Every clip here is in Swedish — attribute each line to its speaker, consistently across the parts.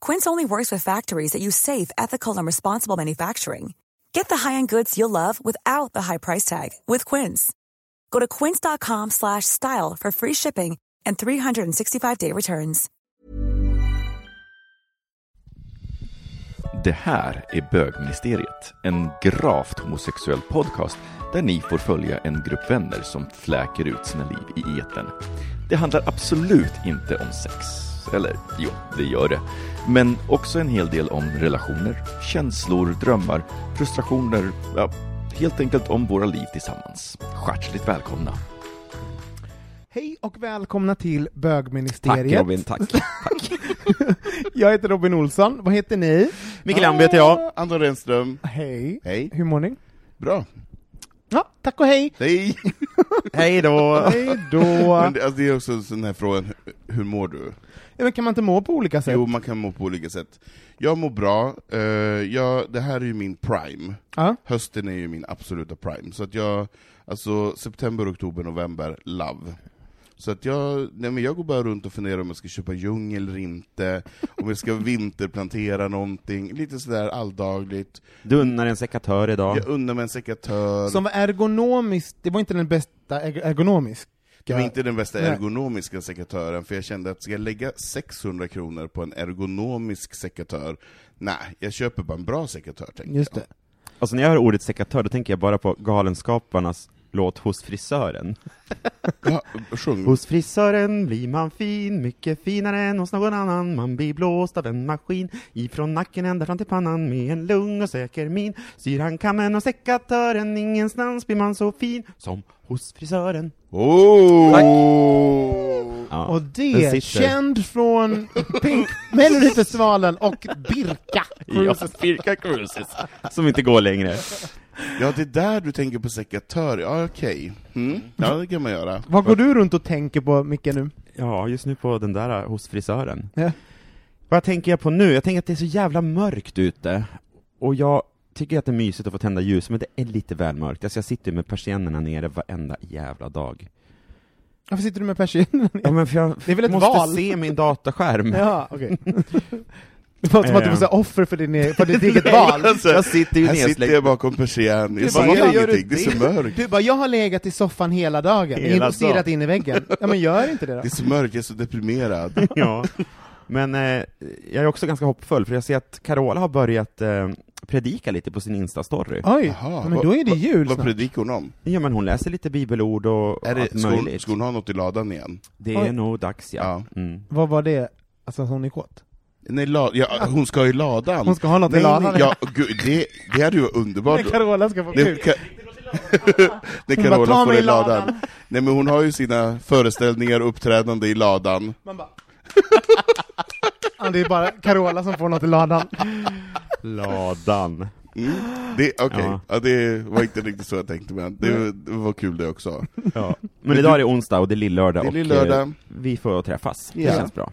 Speaker 1: Quince only works with factories that use safe, ethical, and responsible manufacturing. Get the high-end goods you'll love without the high price tag with Quince. Go to quince.com/style slash style for free shipping and 365-day returns.
Speaker 2: Det här är Bögministeriet, en gravt homosexuell podcast där ni får följa en grupp vänner som fläker ut sina liv i etern. Det handlar absolut inte om sex. Eller jo, det gör det. Men också en hel del om relationer, känslor, drömmar, frustrationer, ja, helt enkelt om våra liv tillsammans. Skärtsligt välkomna.
Speaker 3: Hej och välkomna till
Speaker 4: Tack
Speaker 3: bögministeriet.
Speaker 4: Robin, tack. tack.
Speaker 3: Jag heter Robin Olsson, vad heter ni? Ah,
Speaker 5: Mikael Lamb heter jag. Anton Ah, Renström.
Speaker 3: Hej.
Speaker 5: Hej.
Speaker 3: Hur mår ni?
Speaker 5: Bra.
Speaker 3: Ja, tack och hej.
Speaker 5: Hej!
Speaker 4: Hej då.
Speaker 3: Hej då.
Speaker 5: Men det, alltså det är också en sån här frågan, hur- hur mår du?
Speaker 3: ja, men kan man inte må på olika sätt?
Speaker 5: Jo, man kan må på olika sätt. Jag mår bra, Eh, jag, det här är ju min prime.
Speaker 3: Ja.
Speaker 5: Hösten är ju min absoluta prime, så att jag, alltså september, oktober, november, love. Så att jag, nej men jag går bara runt och funderar om jag ska köpa ljung eller inte, om jag ska vinterplantera någonting, lite sådär alldagligt.
Speaker 4: Du unnar en sekatör idag.
Speaker 5: Jag undrar mig en sekatör.
Speaker 3: Som var ergonomiskt, det var inte den bästa erg- ergonomiska.
Speaker 5: Det var inte den bästa
Speaker 3: Nej.
Speaker 5: ergonomiska sekatören, för jag kände att ska jag lägga 600 kronor på en ergonomisk sekatör? Nej, jag köper bara en bra sekatör, tänkte
Speaker 3: Just
Speaker 5: jag.
Speaker 3: det.
Speaker 4: Alltså när jag hör ordet sekatör, då tänker jag bara på Galenskaparnas låt Hos frisören.
Speaker 5: Ja, sjung.
Speaker 4: Hos frisören blir man fin, mycket finare än hos någon annan. Man blir blåst av en maskin, ifrån nacken ända fram till pannan. Med en lugn och säker min syr han kammen och sekatören. Ingenstans blir man så fin som hos frisören.
Speaker 5: Oh!
Speaker 4: Ja.
Speaker 3: Och
Speaker 4: den
Speaker 3: det,
Speaker 4: sitter.
Speaker 3: känd från Pink, Melodifestivalen och Birka.
Speaker 4: Ja, Birka Cruises. Som inte går längre.
Speaker 5: Ja, det är där du tänker på sekatör, ja okej. Mm. Ja, det kan man göra.
Speaker 3: Vad går du runt och tänker på, Micke, nu?
Speaker 4: Ja, just nu på den där eh, hos frisören.
Speaker 3: Ja.
Speaker 4: Vad tänker jag på nu? Jag tänker att det är så jävla mörkt ute, och jag tycker att det är mysigt att få tända ljus, men det är lite väl mörkt. Alltså jag sitter ju med persiennerna nere varenda jävla dag.
Speaker 3: Varför sitter du med persiennen?
Speaker 4: Ja, men för jag
Speaker 3: Det är väl ett
Speaker 4: måste
Speaker 3: val?
Speaker 4: se min dataskärm.
Speaker 3: Ja, okej. Det låter som att du var så här
Speaker 5: Ehm.
Speaker 3: offer för, din, e-, för ditt eget val.
Speaker 5: Alltså,
Speaker 4: Jag sitter ju
Speaker 5: här sitter
Speaker 4: nedsläckt.
Speaker 5: jag bakom persienn, jag
Speaker 3: bara,
Speaker 5: ser
Speaker 3: "Vad gör
Speaker 5: ingenting, det är så mörkt.
Speaker 3: Du bara, jag har legat i soffan hela dagen,
Speaker 4: Hela
Speaker 3: in och stirrat
Speaker 4: dagen.
Speaker 3: in i väggen. Ja men gör inte det då.
Speaker 5: Det är så mörkt, jag är så deprimerad.
Speaker 4: Ja. Men eh, jag är också ganska hoppfull, för jag ser att Carola har börjat eh, predika lite på sin Insta-story.
Speaker 3: Oj,
Speaker 5: Jaha,
Speaker 3: ja, men
Speaker 5: vad-
Speaker 3: då är det jul
Speaker 5: Vad
Speaker 3: snart.
Speaker 5: predikar hon om?
Speaker 4: Ja, men hon läser lite bibelord och
Speaker 5: Är
Speaker 4: allt
Speaker 5: det, ska, hon,
Speaker 4: möjligt.
Speaker 5: ska hon ha något i ladan igen?
Speaker 4: Det är
Speaker 3: Oj.
Speaker 4: nog dags, ja. Mm.
Speaker 3: Vad var det? Alltså hon är kåt?
Speaker 5: Nej, la, ja, hon ska ha i ladan.
Speaker 3: Hon ska ha något i
Speaker 5: nej,
Speaker 3: ladan.
Speaker 5: Nej, ja, gud, det, det hade ju varit underbart.
Speaker 3: Carola ska få
Speaker 5: Nej, Ka-
Speaker 3: Hon bara,
Speaker 5: När
Speaker 3: "Ta
Speaker 5: Carola står
Speaker 3: mig
Speaker 5: i
Speaker 3: i ladan."
Speaker 5: ladan. Nej men hon har ju sina föreställningar och uppträdande i ladan.
Speaker 3: Man bara... ja, det är bara Carola som får något i ladan.
Speaker 4: Ladan.
Speaker 5: Mm. Det, okej.
Speaker 4: Ja.
Speaker 5: ja, det var inte riktigt så jag tänkte men det, det var kul det också.
Speaker 4: Ja. Men idag är det onsdag och det är lill-lördag
Speaker 5: Det är
Speaker 4: och
Speaker 5: lill-lördag.
Speaker 4: eh, vi får träffas.
Speaker 5: Ja.
Speaker 4: Det känns bra.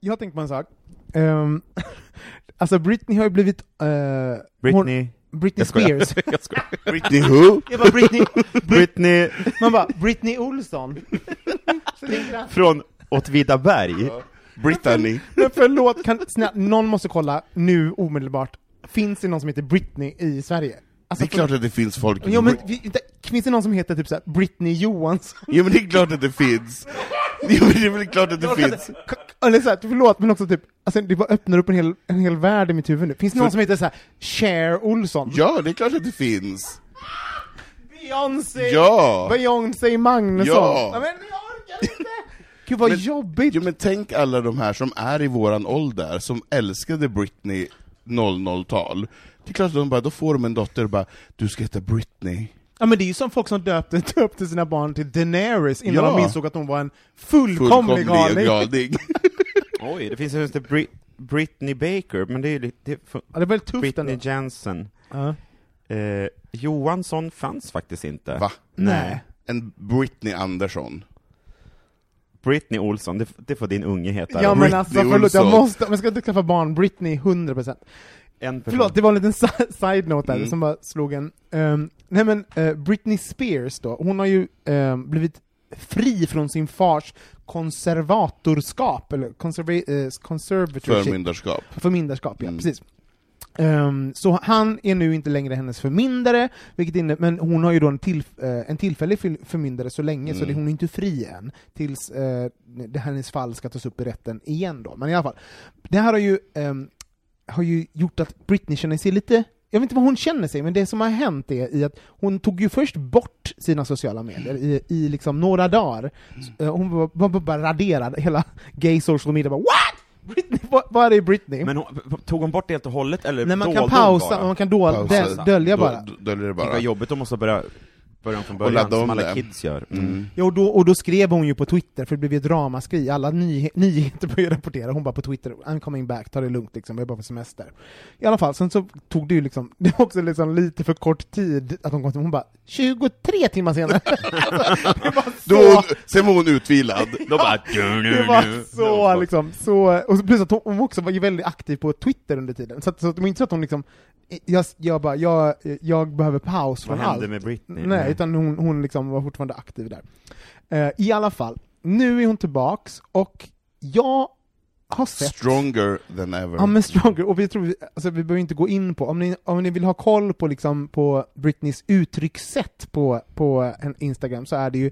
Speaker 3: Jag tänkte på en sak. Ehm, alltså Britney har ju blivit... eh,
Speaker 4: Britney.
Speaker 3: Hon, Britney
Speaker 4: Jag skojar.
Speaker 3: Spears.
Speaker 4: Jag skojar.
Speaker 5: Britney Who?
Speaker 3: Jag bara, Britney,
Speaker 4: Britney
Speaker 3: man bara, Britney Olsson. Så tänker jag,
Speaker 4: från Åtvidaberg.
Speaker 5: Brittany.
Speaker 3: Men förlåt, kan, snälla, någon måste kolla nu omedelbart. Finns det någon som heter Britney i Sverige? Alltså,
Speaker 5: det är klart att det finns folk
Speaker 3: Jo men, vi- vänta, finns det någon som heter typ såhär Britney Johansson?
Speaker 5: Jo men det är klart att det finns! Jo men det är väl klart att det finns!
Speaker 3: Eller såhär, förlåt, men också typ, alltså det bara öppnar upp en hel, en hel värld i mitt huvud nu. Finns det någon
Speaker 5: För-
Speaker 3: som heter såhär Cher Olsson?
Speaker 5: Ja, det är klart att det finns!
Speaker 3: Beyoncé!
Speaker 5: Ja!
Speaker 3: Beyoncé Magnusson!
Speaker 5: Ja.
Speaker 3: Nej, men jag orkar inte! Gud vad
Speaker 5: Men-
Speaker 3: jobbigt!
Speaker 5: Jo men tänk alla de här som är i våran ålder, som älskade Britney 00-tal. Det är klart att de bara, då får de en dotter och bara, du ska heta Britney.
Speaker 3: Ja men det är ju som folk som döpte, döpte sina barn till Daenerys innan
Speaker 5: Ja.
Speaker 3: de insåg att hon var en fullkomlig galning.
Speaker 5: galning.
Speaker 4: Oj, det finns en som heter Bri- Britney Baker, men det är ju lite... Det fun-
Speaker 3: Ja, det var väldigt tufft
Speaker 4: Britney
Speaker 3: ändå.
Speaker 4: Jensen.
Speaker 3: Ja.
Speaker 4: Eh, Johansson fanns faktiskt inte.
Speaker 5: Va?
Speaker 4: Nej.
Speaker 5: En Britney Andersson.
Speaker 4: Britney Olsson, det, det får din unge heta.
Speaker 3: Ja
Speaker 4: då.
Speaker 3: men
Speaker 5: Britney
Speaker 3: alltså förlåt, jag
Speaker 5: Olsson.
Speaker 3: måste, man ska inte skaffa barn, Britney 100%.
Speaker 4: en person.
Speaker 3: Förlåt, det var en liten si- side-note där
Speaker 5: Mm.
Speaker 3: som bara slog en. Ehm, nej men eh, Britney Spears då, hon har ju ehm, blivit fri från sin fars konservatorskap, eller conserva- eh, conservatorship.
Speaker 5: Förmyndarskap.
Speaker 3: Förmyndarskap, ja
Speaker 5: Mm.
Speaker 3: precis. Ehm, så han är nu inte längre hennes förmyndare, vilket inne, men hon har ju då en, tillf- eh, en tillfällig fyll- förmyndare så länge, så
Speaker 5: Mm.
Speaker 3: det, hon är inte fri än, tills eh, det hennes fall ska tas upp i rätten igen då. Men i alla fall, det här har ju, ehm, har ju gjort att Britney känner sig lite jag vet inte vad hon känner sig, men det som har hänt är i att hon tog ju först bort sina sociala medier i, i liksom några dagar.
Speaker 5: Mm.
Speaker 3: Så, eh, Hon var, var bara raderad, hela gay social media bara What? Britney, vad, vad är det Britney?
Speaker 4: Men hon, tog hon bort det helt och hållet, eller
Speaker 3: Nej, man kan
Speaker 4: dolde
Speaker 3: pausa,
Speaker 4: hon Typ bara?
Speaker 3: man kan dol-
Speaker 5: Pausa.
Speaker 3: dö- dölja
Speaker 5: Då-
Speaker 3: bara.
Speaker 5: då- Döljer det
Speaker 4: Tänk vad
Speaker 5: bara.
Speaker 4: jobbigt de måste börja, börja om från
Speaker 5: Och
Speaker 4: början,
Speaker 5: ladda
Speaker 4: som
Speaker 5: om
Speaker 4: alla
Speaker 5: det.
Speaker 4: kids gör. Mm.
Speaker 5: Mm.
Speaker 3: Ja, och, då, och då skrev hon ju på Twitter, för det blev ju ett ramaskri, alla nyhe- nyheter började rapportera, hon bara på Twitter 'I'm coming back, ta det lugnt liksom, jag är bara på semester' I alla fall, sen så tog det ju liksom, det var också liksom lite för kort tid att hon kom till hon bara 23 timmar senare! Alltså, det var så...
Speaker 5: Då, hon- sen var hon utvilad.
Speaker 4: Då bara...
Speaker 3: Det var så liksom, så, och så plus att hon, hon också var ju väldigt aktiv på Twitter under tiden, så, att, så att det var inte så att hon liksom jag, jag bara, jag, jag behöver paus
Speaker 4: Vad
Speaker 3: från allt.
Speaker 4: hände med Britney?
Speaker 3: Nej, utan hon, hon liksom var fortfarande aktiv där. Eh, I alla fall, nu är hon tillbaks och jag har sett...
Speaker 5: Stronger than ever.
Speaker 3: Ja men Stronger, och vi tror, vi- alltså vi behöver inte gå in på, om ni, om ni vill ha koll på liksom på Britneys uttryckssätt på, på en Instagram så är det ju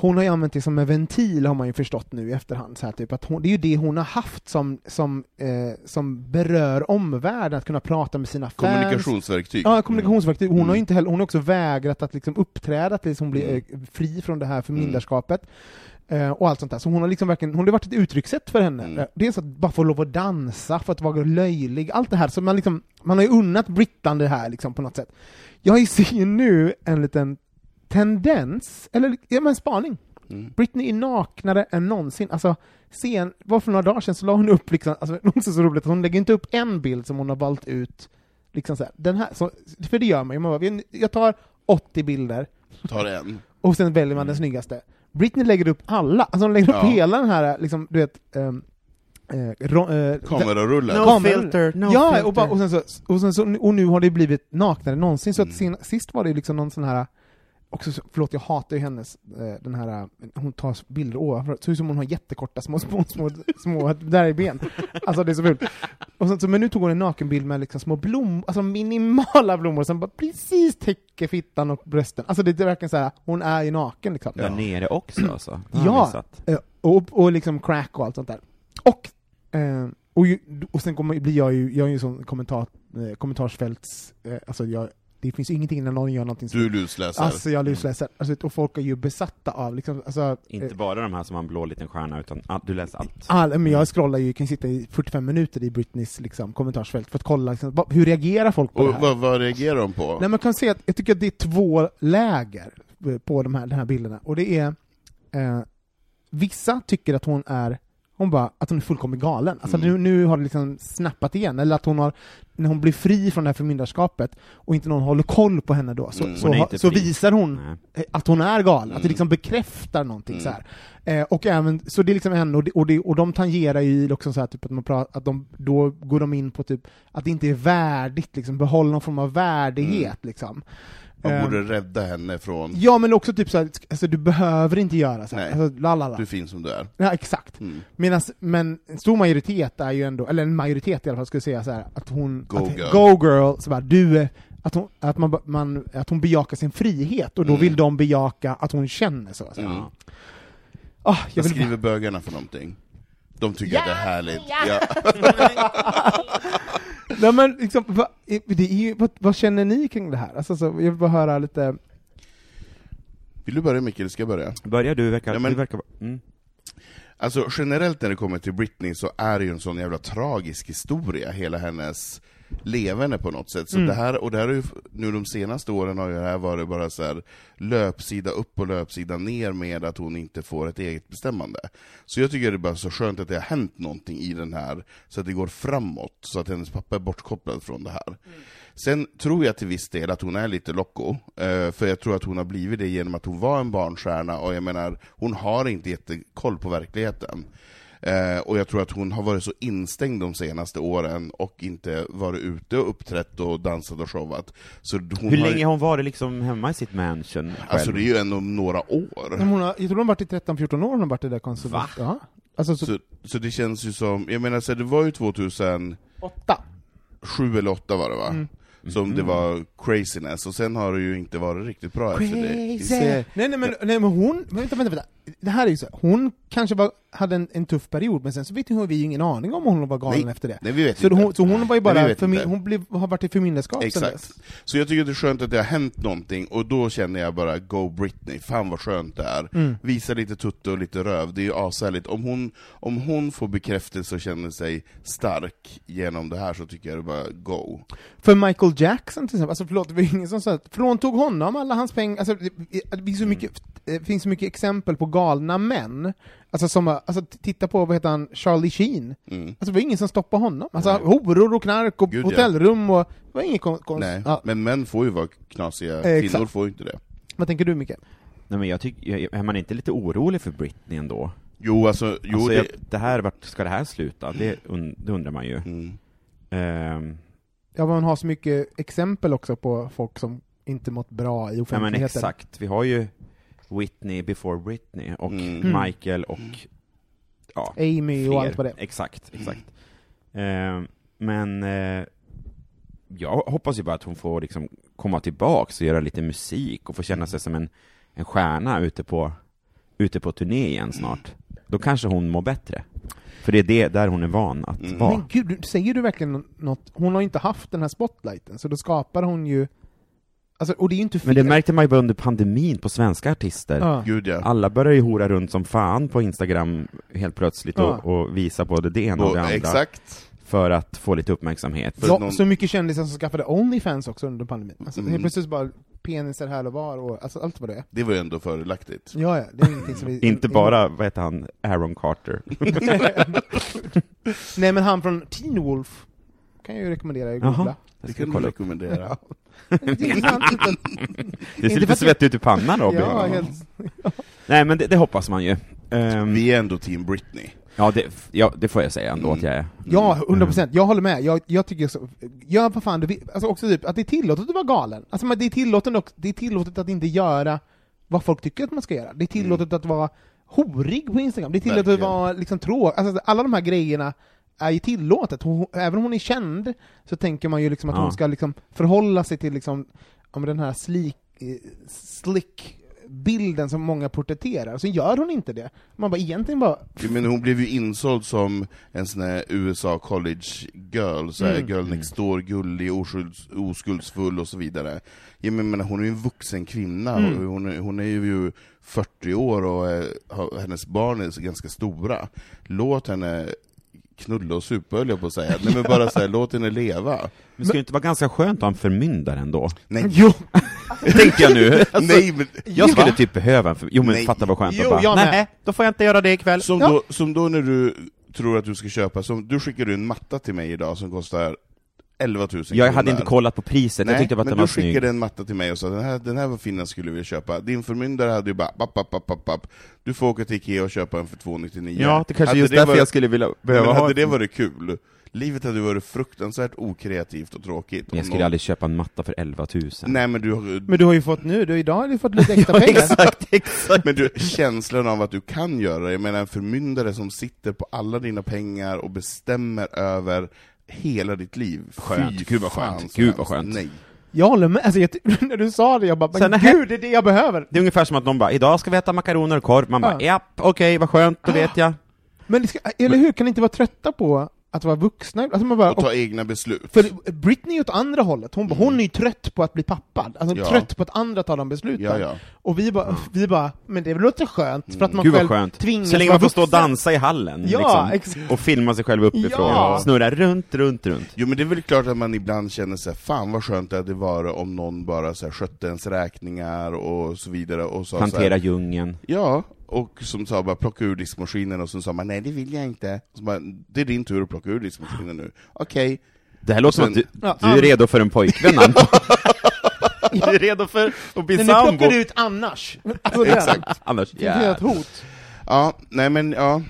Speaker 3: hon har ju använt det som en ventil har man ju förstått nu i efterhand, så här, typ, att hon, det är ju det hon har haft som, som, eh, som berör omvärlden, att kunna prata med sina fans.
Speaker 5: Kommunikationsverktyg.
Speaker 3: Ja, kommunikationsverktyg. Hon, har
Speaker 5: Mm.
Speaker 3: ju inte heller, hon har också vägrat att liksom uppträda tills hon blir
Speaker 5: Mm.
Speaker 3: eh, fri från det här förmyndarskapet. Eh, och allt sånt där. Så hon har liksom verkligen, hon har varit ett uttryckssätt för henne.
Speaker 5: Mm.
Speaker 3: Eh, Dels att bara få lov att dansa, för att vara löjlig, allt det här. Så man, liksom, man har ju unnat Brittan det här liksom, på något sätt. Jag ser ju nu en liten tendens, eller ja, men spaning.
Speaker 5: Mm.
Speaker 3: Britney är naknare än någonsin. Alltså, sen, var för några dagar sedan så la hon upp, liksom, alltså, det är också så roligt att hon lägger inte upp en bild som hon har valt ut, liksom så här, den här, så, för det gör man ju, man bara, jag tar 80 bilder
Speaker 5: Tar en.
Speaker 3: och sen väljer man den snyggaste. Britney lägger upp alla, alltså hon lägger upp
Speaker 5: Ja.
Speaker 3: hela den här, liksom, du vet, ehm, eh, ro, eh,
Speaker 5: Kamerarullen.
Speaker 4: No
Speaker 3: Kameror.
Speaker 4: filter, no
Speaker 3: ja,
Speaker 4: filter.
Speaker 3: och, bara, och, sen så, och, sen så, och nu har det blivit naknare än någonsin, så att
Speaker 5: Mm.
Speaker 3: sen, sist var det liksom någon sån här Också, så- förlåt, jag hatar ju hennes, eh, den här, eh, hon tar bilder ovanför, så ser ut som hon har jättekorta små, små, små, små där i ben. Alltså det är så fult. Och sen, så, men nu tog hon en nakenbild med liksom små blommor, alltså minimala blommor som bara precis täcker fittan och brösten. Alltså det är verkligen så här, hon är ju naken liksom.
Speaker 4: Där nere också alltså? Det har jag
Speaker 3: Ja,
Speaker 4: missat.
Speaker 3: eh, och, och liksom crack och allt sånt där. Och, eh, och, ju, och sen kommer, blir jag ju, jag är ju sån kommentar, eh, kommentarsfälts... Eh, alltså jag, det finns ingenting när någon gör någonting som...
Speaker 5: Du Mm. lusläser.
Speaker 3: Alltså jag lusläser. Alltså, och folk är ju besatta av liksom, alltså, eh,
Speaker 4: Inte bara de här som har en blå liten stjärna, utan all, du läser allt.
Speaker 3: all,
Speaker 5: Mm.
Speaker 3: men jag scrollar ju, kan ju sitta i 45 minuter i Britneys liksom, kommentarsfält för att kolla liksom, vad- hur reagerar folk på
Speaker 5: och
Speaker 3: det här?
Speaker 5: vad, vad reagerar de på?
Speaker 3: Nej, man kan säga att jag tycker att det är två läger eh, på de här, de här bilderna. Och det är... Eh, vissa tycker att hon är hon bara, att hon är fullkomligt galen. Alltså
Speaker 5: Mm.
Speaker 3: nu, nu har det liksom snappat igen, eller att hon har, när hon blir fri från det här förmyndarskapet och inte någon håller koll på henne då, så,
Speaker 5: Mm.
Speaker 3: så,
Speaker 4: Hon är
Speaker 3: ha-
Speaker 4: inte
Speaker 3: så
Speaker 4: fri.
Speaker 3: visar hon
Speaker 4: Nej.
Speaker 3: eh, att hon är galen, att det
Speaker 5: Mm.
Speaker 3: liksom bekräftar någonting
Speaker 5: Mm.
Speaker 3: så här. Eh, och även, så det är liksom en, och, det, och, det, och de tangerar ju liksom så här, typ att man pratar, att de, då går de in på typ att det inte är värdigt, liksom, behålla någon form av värdighet
Speaker 5: Mm.
Speaker 3: liksom.
Speaker 5: Man
Speaker 3: Ehm,
Speaker 5: borde rädda henne från
Speaker 3: Ja men också typ så här, alltså, du behöver inte göra så här.
Speaker 5: Nej.
Speaker 3: Alltså, la, la, la.
Speaker 5: du är fin som du är.
Speaker 3: Ja, exakt.
Speaker 5: Mm.
Speaker 3: Medans, men en stor majoritet är ju ändå, eller en majoritet i alla fall skulle säga så här, att hon...
Speaker 5: Go
Speaker 3: att,
Speaker 5: girl.
Speaker 3: Go girl! Så bara, du, är- att hon, att man, man, att hon bejakar sin frihet, och då
Speaker 5: Mm.
Speaker 3: vill de bejaka att hon känner så. så.
Speaker 5: Mm.
Speaker 3: Ah, jag
Speaker 5: Vad
Speaker 3: vill
Speaker 5: skriver bögarna för någonting? De tycker att det är härligt. Ja.
Speaker 3: Nej men liksom, vad, det är ju, vad, vad känner ni kring det här? Alltså, så, jag vill bara höra lite,
Speaker 5: Vill du börja Micke, eller ska jag börja?
Speaker 4: Börjar du, verkar,
Speaker 5: Ja, men-
Speaker 4: du verkar vara- mm.
Speaker 5: Alltså generellt när det kommer till Britney så är det ju en sån jävla tragisk historia, hela hennes levande på något sätt. Så
Speaker 3: Mm.
Speaker 5: det här, och det här har ju, f- nu de senaste åren har ju det här varit bara så här löpsida upp och löpsida ner med att hon inte får ett eget bestämmande. Så jag tycker det är bara så skönt att det har hänt någonting i den här, så att det går framåt, så att hennes pappa är bortkopplad från det här.
Speaker 3: Mm.
Speaker 5: Sen tror jag till viss del att hon är lite loco, eh, för jag tror att hon har blivit det genom att hon var en barnstjärna, och jag menar, hon har inte jättekoll på verkligheten. Eh, och jag tror att hon har varit så instängd de senaste åren, och inte varit ute och uppträtt och dansat och showat. Så hon
Speaker 4: Hur
Speaker 5: har,
Speaker 4: länge har hon varit liksom hemma i sitt mansion själv?
Speaker 5: Alltså det är ju ändå några år.
Speaker 3: Men hon har, jag tror de har varit i 13-14 år, hon har varit i det där konservatoriet. Ja. Alltså, så,
Speaker 5: Så, så det känns ju som, jag menar så här, det var ju 2007
Speaker 3: åtta.
Speaker 5: eller 2008 var det va? Som det var craziness, och sen har det ju inte varit riktigt bra efter det.
Speaker 3: Nej, nej, men, nej men hon, men vänta, vänta, vänta. Det här är ju så, hon kanske var, hade en, en tuff period, men sen så vet ni, har vi ju ingen aning om hon var galen
Speaker 5: Nej,
Speaker 3: efter det.
Speaker 5: nej, vi vet
Speaker 3: så,
Speaker 5: inte.
Speaker 3: hon, så hon var ju
Speaker 5: Nej, vi
Speaker 3: bara,
Speaker 5: vet
Speaker 3: förmi-
Speaker 5: inte.
Speaker 3: hon blev, har varit i förmyndarskap sen
Speaker 5: Exakt.
Speaker 3: dess.
Speaker 5: Så jag tycker det är skönt att det har hänt någonting, och då känner jag bara Go Britney, fan vad skönt det är.
Speaker 3: Mm.
Speaker 5: Visa lite tutte och lite röv, det är ju ashärligt. Om hon, om hon får bekräftelse och känner sig stark genom det här så tycker jag det bara go.
Speaker 3: För Michael Jackson till exempel, alltså förlåt, det var ju ingen som sa att fråntog honom alla hans pengar, alltså, det, det, finns så
Speaker 5: Mm.
Speaker 3: mycket, det finns så mycket exempel på galna män, alltså som, har- alltså t- titta på, vad heter han, Charlie Sheen,
Speaker 5: Mm.
Speaker 3: alltså det var ingen som stoppade honom, alltså horor och knark och
Speaker 5: Gud, ja.
Speaker 3: hotellrum och, det var inget kon- konst,
Speaker 5: Nej.
Speaker 3: Alltså, ja,
Speaker 5: Men män får ju vara knasiga,
Speaker 3: Exakt.
Speaker 5: kvinnor får ju inte det.
Speaker 3: vad tänker du Micke?
Speaker 4: Nej men jag tycker, är man inte lite orolig för Britney ändå?
Speaker 5: Jo, alltså,
Speaker 4: Jo,
Speaker 5: jo
Speaker 4: alltså, det...
Speaker 5: det...
Speaker 4: Jag, det här, vart ska det här sluta? Det, und, det undrar man ju.
Speaker 5: Mm.
Speaker 4: Ehm,
Speaker 3: Ja, man har så mycket exempel också på folk som inte mått bra i
Speaker 4: ja men
Speaker 3: offentligheten.
Speaker 4: exakt, vi har ju Whitney before Britney, och
Speaker 5: Mm.
Speaker 4: Michael och ja,
Speaker 3: Amy och
Speaker 4: fler.
Speaker 3: allt vad det är.
Speaker 4: Exakt, exakt. Ehm, men eh, jag hoppas ju bara att hon får liksom komma tillbaks och göra lite musik och få känna sig som en, en stjärna ute på, ute på turné igen snart. Då kanske hon mår bättre. För det är det där hon är van att
Speaker 5: Mm.
Speaker 4: vara.
Speaker 3: Men gud, du- säger du verkligen nå- något? Hon har ju inte haft den här spotlighten, så då skapar hon ju... Alltså, och det är ju inte fel.
Speaker 4: Men det märkte man ju bara under pandemin på svenska artister.
Speaker 3: Ja.
Speaker 5: Gud ja.
Speaker 4: Alla började ju hora runt som fan på Instagram helt plötsligt och,
Speaker 3: Ja.
Speaker 4: och visa både det ena och
Speaker 5: Och,
Speaker 4: det andra
Speaker 5: exakt.
Speaker 4: för att få lite uppmärksamhet.
Speaker 5: För
Speaker 3: ja,
Speaker 5: att någon-
Speaker 3: Så mycket kändisar som skaffade Onlyfans också under pandemin. Alltså,
Speaker 5: Mm.
Speaker 3: Helt plötsligt bara penisar här och var, och, alltså allt vad det är.
Speaker 5: Det var ju ändå fördelaktigt.
Speaker 3: Ja, ja, det är ingenting som vi...
Speaker 5: Mm.
Speaker 4: Inte bara, vad heter han, Aaron Carter?
Speaker 3: Nej, men han från Teen Wolf kan jag ju rekommendera att googla.
Speaker 4: Jaha.
Speaker 5: Det
Speaker 4: Jag ska
Speaker 5: kan du
Speaker 4: kolla upp.
Speaker 5: rekommendera.
Speaker 3: Det är intressant.
Speaker 4: Det ser
Speaker 3: Inte för
Speaker 4: lite
Speaker 3: att jag-
Speaker 4: svettigt ut i pannan Robin.
Speaker 3: ja, helt...
Speaker 4: Nej men det, det hoppas man ju. Ehm,
Speaker 5: Vi är ändå team Britney.
Speaker 4: ja, det, ja, det får jag säga ändå att jag är.
Speaker 3: Ja, 100 procent. Jag håller med. Jag, jag tycker så, gör vad fan du vill. Alltså också typ, att det är tillåtet att vara galen. Alltså men det är tillåtet, också, det är tillåtet att inte göra vad folk tycker att man ska göra. Det är tillåtet att vara horig på Instagram. Det är tillåtet
Speaker 5: Verkligen.
Speaker 3: att vara liksom tråkig. Alltså alla de här grejerna är ju tillåtet. Hon, även om hon är känd så tänker man ju liksom att
Speaker 4: Ja.
Speaker 3: hon ska liksom förhålla sig till liksom, om den här slik, eh, slick bilden som många porträtterar, så gör hon inte det. Man bara egentligen bara,
Speaker 5: Jo, Men hon blev ju insåld som en sån här USA college girl, så här
Speaker 4: Mm.
Speaker 5: girl next door, gullig, oskylds, oskuldsfull och så vidare. Ja, men, men hon är ju en vuxen kvinna,
Speaker 4: Mm.
Speaker 5: och hon, är, hon är ju 40 år och eh, har- hennes barn är så ganska stora. Låt henne knulla och supa höll jag på att säga. Nej men bara så här, låt henne leva.
Speaker 4: Men skulle det inte vara ganska skönt att ha en förmyndare ändå?
Speaker 5: Nej,
Speaker 3: jo,
Speaker 4: Tänkte jag nu.
Speaker 5: nej men...
Speaker 4: alltså, Jag skulle
Speaker 5: Va?
Speaker 4: typ behöva en förmyndare. Jo men
Speaker 5: Nej.
Speaker 4: fatta vad skönt
Speaker 3: Jo,
Speaker 4: att bara,
Speaker 3: jag med.
Speaker 4: nej, då får jag inte göra det ikväll.
Speaker 5: Som,
Speaker 3: Ja.
Speaker 5: då, som då när du tror att du ska köpa, som, du skickade en matta till mig idag som kostar 11 000
Speaker 4: Jag hade inte
Speaker 5: kronor.
Speaker 4: kollat på priset, jag tyckte bara att
Speaker 5: men
Speaker 4: den
Speaker 5: du
Speaker 4: var snygg.
Speaker 5: skickade en matta till mig och sa den här, den här var fin, den skulle vi köpa. Din förmyndare hade ju bara app, app, app, app, app. du får åka till Ikea och köpa en för 299.
Speaker 4: Ja, det kanske
Speaker 5: Hade
Speaker 4: just därför
Speaker 5: varit-
Speaker 4: jag skulle vilja
Speaker 5: Men
Speaker 4: behöva ha
Speaker 5: hade det varit kul? Livet hade varit fruktansvärt okreativt och tråkigt. om
Speaker 4: Jag skulle
Speaker 5: någon-
Speaker 4: aldrig köpa en matta för 11 000.
Speaker 5: Nej men du,
Speaker 3: men du har ju fått nu, du, idag har du fått lite extra pengar.
Speaker 4: Exakt, exakt.
Speaker 5: men du, känslan av att du kan göra det, jag menar en förmyndare som sitter på alla dina pengar och bestämmer över hela ditt liv.
Speaker 4: Skönt.
Speaker 5: Fy
Speaker 4: Gud vad
Speaker 5: fan,
Speaker 4: skönt.
Speaker 5: så
Speaker 4: Gud vad
Speaker 5: hemskt.
Speaker 4: skönt.
Speaker 5: Nej.
Speaker 3: Jag håller med, alltså, jag, ty- när du sa det, jag bara,
Speaker 4: Sen
Speaker 3: men
Speaker 4: är-
Speaker 3: gud, det är det jag behöver!
Speaker 4: Det är ungefär som att de bara, idag ska vi äta makaroner och korv, man bara,
Speaker 3: Ja.
Speaker 4: japp, okej, vad skönt, då vet jag.
Speaker 3: Men, det ska, eller hur, kan ni inte vara trötta på att vara vuxna? Alltså, man bara,
Speaker 5: Och ta egna beslut.
Speaker 3: För Britney är åt andra hållet, hon, bara,
Speaker 4: Mm.
Speaker 3: hon är ju trött på att bli pappad, alltså
Speaker 5: Ja.
Speaker 3: trött på att andra tar de besluten.
Speaker 5: Ja, ja.
Speaker 3: Och vi bara, vi bara, men det låter skönt, för att man
Speaker 4: Mm. Gud vad
Speaker 3: själv
Speaker 4: skönt.
Speaker 3: tvingas
Speaker 4: Så länge
Speaker 3: vara
Speaker 4: man får stå och
Speaker 3: vuxen.
Speaker 4: dansa i hallen,
Speaker 3: Ja,
Speaker 4: liksom,
Speaker 3: exakt.
Speaker 4: och filma sig själv uppifrån,
Speaker 3: Ja.
Speaker 4: snurra runt, runt, runt.
Speaker 5: Jo men det är väl klart att man ibland känner sig fan vad skönt det hade varit om någon bara så här, skötte ens räkningar och så vidare och sa så
Speaker 4: Plantera
Speaker 5: här,
Speaker 4: djungeln.
Speaker 5: Ja, och som sa bara plocka ur diskmaskinen och så sa man nej det vill jag inte. Och så bara, det är din tur att plocka ur diskmaskinen nu. Okej.
Speaker 4: Det här låter som
Speaker 5: Sen-
Speaker 4: att du,
Speaker 3: Ja,
Speaker 4: du är
Speaker 3: an-
Speaker 4: redo för en pojkvän Anton. Du är redo för att bli
Speaker 3: Men nu plockar
Speaker 4: sambo.
Speaker 3: du ut annars! Alltså, den.
Speaker 5: Exakt.
Speaker 4: Annars,
Speaker 3: Det är ett
Speaker 4: yeah.
Speaker 3: hot.
Speaker 5: Ja, nej men ja.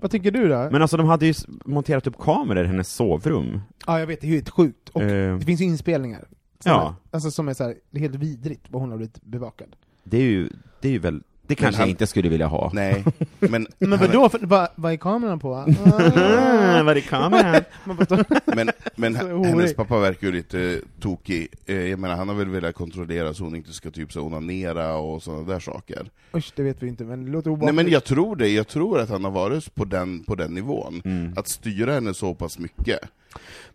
Speaker 3: Vad tycker du då?
Speaker 4: Men alltså de hade ju s- monterat upp kameror i hennes sovrum.
Speaker 3: Ja, jag vet, det är ju helt sjukt. Och
Speaker 4: Eh.
Speaker 3: det finns ju inspelningar. Som
Speaker 4: Ja.
Speaker 3: är, alltså som är så här, det är helt vidrigt vad hon har blivit bevakad.
Speaker 4: Det är ju, det är ju väl, det kanske
Speaker 5: han-
Speaker 4: jag inte skulle vilja ha.
Speaker 5: Nej. Men,
Speaker 3: Men
Speaker 5: han-
Speaker 3: vadå, för, vad, vad är kameran på? Ah.
Speaker 4: Ah, Var är kameran?
Speaker 3: Man bara står-
Speaker 5: Men, men
Speaker 3: Så
Speaker 5: h-
Speaker 3: horig.
Speaker 5: hennes pappa verkar ju lite tokig. Eh, Jag menar, han har väl velat kontrollera så hon inte ska typ så här onanera och sådana där saker.
Speaker 3: Usch, det vet vi inte, men det låter
Speaker 5: Nej
Speaker 3: obehagligt.
Speaker 5: men jag tror det, jag tror att han har varit på den, på den nivån. Att styra henne så pass mycket.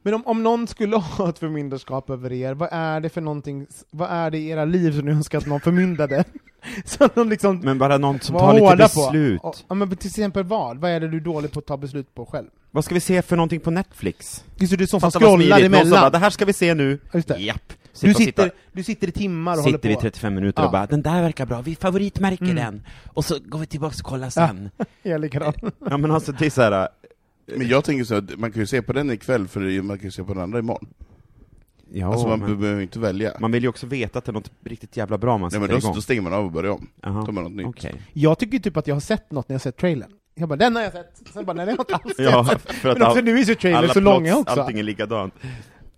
Speaker 3: Men om, om någon skulle ha ett förmyndarskap över er, vad är det för någonting, vad är det i era liv som ni önskar att någon förmyndade? Så att de liksom
Speaker 4: Men bara någon som
Speaker 3: var
Speaker 4: tar lite
Speaker 3: hårda
Speaker 4: beslut.
Speaker 3: på? Ja, men till exempel vad? Vad är det du är dålig på att ta beslut på själv?
Speaker 4: Vad ska vi se för någonting på Netflix?
Speaker 3: Just det, du är sån som
Speaker 4: Fatta vad
Speaker 3: scrollar
Speaker 4: smidigt, någon som bara,
Speaker 3: emellan.
Speaker 4: det här ska vi se nu.
Speaker 3: Just det.
Speaker 4: Japp.
Speaker 3: Du
Speaker 4: och
Speaker 3: sitter, du sitter i timmar och håller
Speaker 4: sitter
Speaker 3: på.
Speaker 4: vi 35 minuter
Speaker 3: Ja.
Speaker 4: och bara, den där verkar bra, vi favoritmärker den. Och så går vi tillbaka och kollar sen.
Speaker 3: Jag är likadan.
Speaker 4: Ja men alltså det är så här.
Speaker 5: Men jag tänker så att man kan ju se på den ikväll, för man kan ju se på den andra imorgon.
Speaker 4: Ja,
Speaker 5: alltså man
Speaker 4: men-
Speaker 5: be- behöver ju inte välja.
Speaker 4: Man vill ju också veta att det är något riktigt jävla bra man
Speaker 5: Nej
Speaker 4: sätter
Speaker 5: men då,
Speaker 4: igång.
Speaker 5: då stänger man av och börjar om.
Speaker 4: Jaha.
Speaker 5: Tar man något nytt.
Speaker 4: Okej.
Speaker 3: Jag tycker ju typ att jag har sett något när jag har sett trailern. Jag bara, den har jag sett. Sen bara, nej det har jag inte alls sett.
Speaker 4: Ja, för att
Speaker 3: Men också
Speaker 4: all,
Speaker 3: nu är ju trailern
Speaker 4: alla
Speaker 3: så långa
Speaker 4: plots,
Speaker 3: också.
Speaker 4: allting är likadant.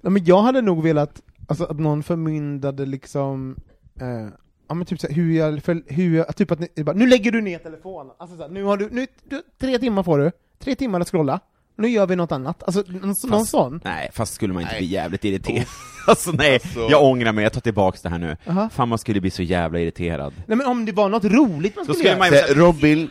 Speaker 3: Ja, men jag hade nog velat alltså, att någon förmyndade liksom, eh, ja men typ såhär, hur jag, för, hur jag typ att ni, bara, nu lägger du ner telefonen, alltså såhär, nu har du, nu, du, tre timmar får du, tre timmar att scrolla, nu gör vi något annat, alltså någon, någon sån.
Speaker 4: Nej, fast skulle man inte
Speaker 5: Nej.
Speaker 4: bli jävligt irriterad? Alltså nej, jag ångrar mig, jag tar tillbaks det här nu. Fan man skulle bli så jävla irriterad.
Speaker 3: Nej men om det var något roligt man
Speaker 4: Då skulle
Speaker 3: skulle, göra.
Speaker 4: man ju
Speaker 5: Så,
Speaker 4: säga,
Speaker 5: Robin,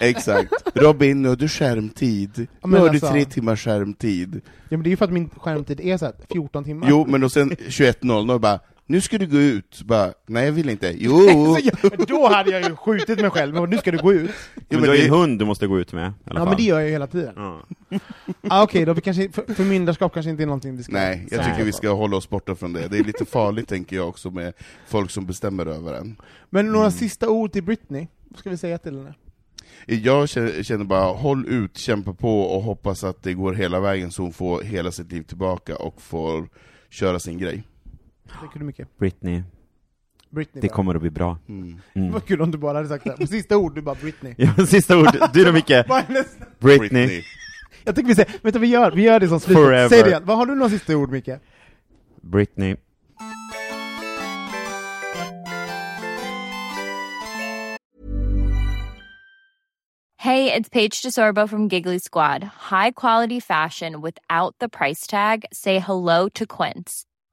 Speaker 5: exakt. Robin, nu har du skärmtid.
Speaker 3: Ja,
Speaker 5: Nu
Speaker 3: men
Speaker 5: har du
Speaker 3: alltså-
Speaker 5: tre timmars skärmtid.
Speaker 3: Ja men det är ju för att min skärmtid är såhär 14 timmar.
Speaker 5: Jo, men och sen 21.00 bara, nu ska du gå ut. Bara, nej jag vill inte. Jo!
Speaker 3: Så jag, då hade jag ju skjutit mig själv, Jag bara, nu ska du gå ut.
Speaker 4: men
Speaker 5: men
Speaker 4: du har ju
Speaker 5: det-
Speaker 4: en hund du måste gå ut med i alla
Speaker 3: Ja
Speaker 4: fall.
Speaker 3: men det gör jag ju hela tiden.
Speaker 4: Ja.
Speaker 3: Ah, Okej, då vi kanske, för, förmyndarskap kanske inte är någonting vi ska...
Speaker 5: Nej, jag
Speaker 4: Nej.
Speaker 5: tycker vi ska hålla oss borta från det. Det är lite farligt tänker jag också med folk som bestämmer över en.
Speaker 3: Men
Speaker 5: Mm.
Speaker 3: några sista ord till Britney, vad ska vi säga till henne?
Speaker 5: Jag känner känner bara, håll ut, kämpa på och hoppas att det går hela vägen så hon får hela sitt liv tillbaka och får köra sin grej.
Speaker 3: Tycker du mycket?
Speaker 4: Britney,
Speaker 3: Britney
Speaker 4: det
Speaker 3: bara.
Speaker 4: kommer att bli bra.
Speaker 5: Mm.
Speaker 4: Mm.
Speaker 3: Vad kul om du bara hade sagt det. här. På sista ord, du bara Britney.
Speaker 4: Ja, sista ord, du då Micke?
Speaker 3: Vad är nästa?
Speaker 4: Britney.
Speaker 3: Jag tycker vi säger, vänta vi gör, vi gör det som slut.
Speaker 4: Forever.
Speaker 3: Säg det igen, vad har du några sista ord Micke?
Speaker 4: Britney.
Speaker 6: Hey, it's Paige DeSorbo from Giggly Squad. High quality fashion without the price tag. Say hello to Quince.